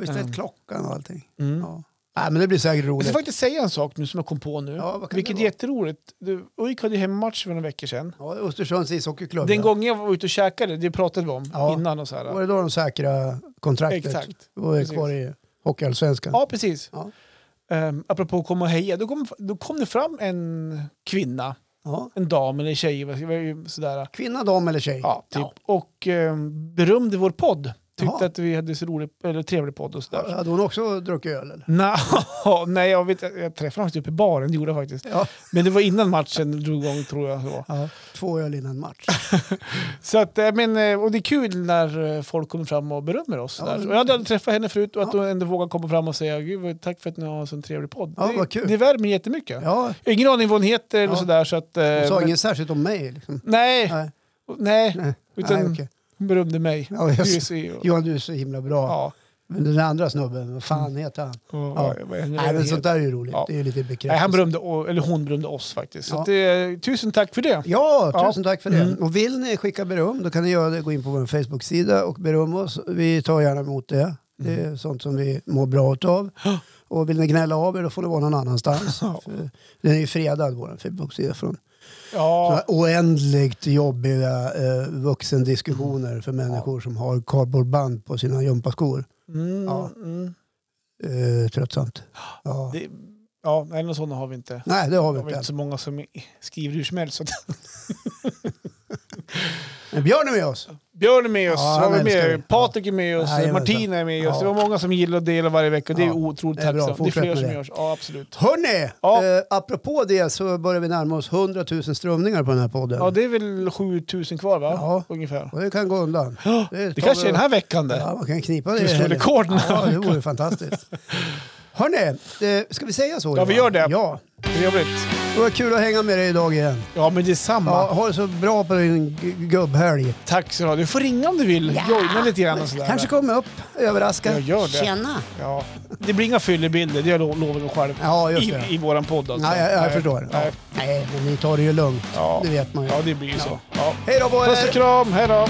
A: har ju ställt
B: Mm.
A: klockan och allting.
B: Mm. Alltså,
A: Ja. Nej, men det blir säkert
B: Jag ska
A: roligt.
B: faktiskt säga en sak nu som jag kom på nu,
A: Ja, vad kan
B: vilket
A: det
B: är
A: vara?
B: jätteroligt. Du, UIK hade ju hemmamatch för några veckor sedan.
A: Ja, Östersunds ishockeyklubb.
B: Den
A: ja.
B: gången jag var ute och käkade, det pratade vi om
A: Ja.
B: innan och så här.
A: Var det då de säkra kontraktet?
B: Exakt.
A: Och är
B: Precis.
A: kvar i Hockeyallsvenskan?
B: Ja, precis.
A: Ja.
B: Um, apropå att komma och heja, då kom, då kom det fram en kvinna,
A: Ja.
B: en dam eller en tjej, vad- vad- vad- sådär.
A: Kvinna, dam eller tjej?
B: Ja, typ.
A: Ja.
B: Och um, berömde vår podd. Tyckte
A: Jaha.
B: att vi hade så rolig, eller trevlig podd och sådär.
A: Hade hon också druckit öl? Eller?
B: Nå, [laughs] nej, jag, vet, jag träffade honom typ i baren, det gjorde jag faktiskt.
A: Ja.
B: Men det var innan matchen drog igång tror jag. det var.
A: Två öl innan match.
B: Så att, eh, men, eh, och det är kul när eh, folk kommer fram och berömmer oss.
A: Ja,
B: sådär.
A: men-
B: och jag hade aldrig träffat henne förut och att
A: Ja.
B: hon ändå vågar komma fram och säga Gud, vad- tack för att ni har en sån trevlig podd.
A: Ja,
B: det,
A: vad kul.
B: det värmer jättemycket.
A: Ja,
B: Jag har Ingen aning vad hon heter eller
A: Ja.
B: sådär. Så att, eh,
A: hon sa
B: men-
A: inget särskilt om mig. Liksom.
B: Nej,
A: Nej.
B: nej.
A: Nej.
B: [laughs] Utan
A: Nej, okej.
B: hon berömde mig.
A: [laughs] ja, jag,
B: Du är så- ja.
A: Johan, du är så himla bra.
B: Ja. Mm.
A: Men den andra snubben, vad fan heter han?
B: Ja.
A: Nej, men sånt där är ju roligt.
B: Ja.
A: Det är ju lite bekräftelse.
B: Nej, han berömde, o- eller hon berömde oss faktiskt. Så
A: Ja.
B: att, eh, tusen tack för det.
A: Ja,
B: Ja.
A: tusen tack för det.
B: Mm.
A: Och vill ni skicka beröm, då kan ni göra det. Gå in på vår Facebook-sida och beröm oss. Vi tar gärna emot det. Det
B: Mm.
A: är sånt som vi mår bra
B: [gasps]
A: utav. Och vill ni gnälla av er, då får det vara någon annanstans.
B: Ja.
A: För Den är ju fredad, vår Facebook-sida, från
B: Ja,
A: sådana oändligt jobbiga eh, vuxendiskussioner för människor som har cardboardband på sina gympaskor.
B: mm,
A: Ja.
B: Mm.
A: Eh, tröttsamt. Ja.
B: [gasps] Det, ja nej, någon sån har vi inte.
A: Nej, det har vi
B: Det
A: inte
B: var inte
A: än.
B: så många som skriver hur som helst. Så att,
A: Men Björn är med oss.
B: Björn är med oss,
A: Ja,
B: har
A: han
B: vi
A: älskar
B: med,
A: vi.
B: Patrik är med oss, Jajamensan. Martina är med oss.
A: Ja.
B: Det var många som gillar och delar varje vecka. Det är
A: Ja.
B: otroligt
A: Det är bra.
B: tacksamt. Det är
A: Fortsätt
B: fler
A: med
B: som
A: det.
B: görs. Ja, absolut.
A: Hörni,
B: Ja.
A: eh, apropå det så börjar vi närma oss 100 000 strömningar på den här podden.
B: Ja, det är väl 7000 kvar va?
A: Ja.
B: Ungefär.
A: Och det kan gå undan.
B: [gasps] Ja,
A: Det
B: Det kanske är den här veckan det.
A: Ja, man kan knipa det.
B: Ska vi
A: i
B: slå
A: helgen.
B: rekord nu?
A: Ja, det vore fantastiskt. Hörni, eh, ska vi säga så?
B: Ja, vi gör det.
A: Ja,
B: Trevligt.
A: det var kul att hänga med dig idag igen.
B: Ja, men detsamma.
A: Ja, ha det så bra på din g- gubbhelg.
B: Tack så du ha. Du får ringa om du vill. Joina lite grann och sådär.
A: Kanske kommer upp, överraska.
B: Jag gör det.
A: Tjena!
B: Ja. Det blir inga fyllebilder, det lo- lovar jag själv.
A: Ja, just
B: I,
A: det.
B: I våran podd alltså.
A: Nej, jag, jag
B: Nej.
A: förstår. Ja.
B: Nej.
A: Nej, men ni tar det ju lugnt.
B: Ja.
A: Det vet man ju.
B: Ja, det blir ju så. Ja.
A: Hej då på
B: Puss
A: er!
B: och kram, hej då!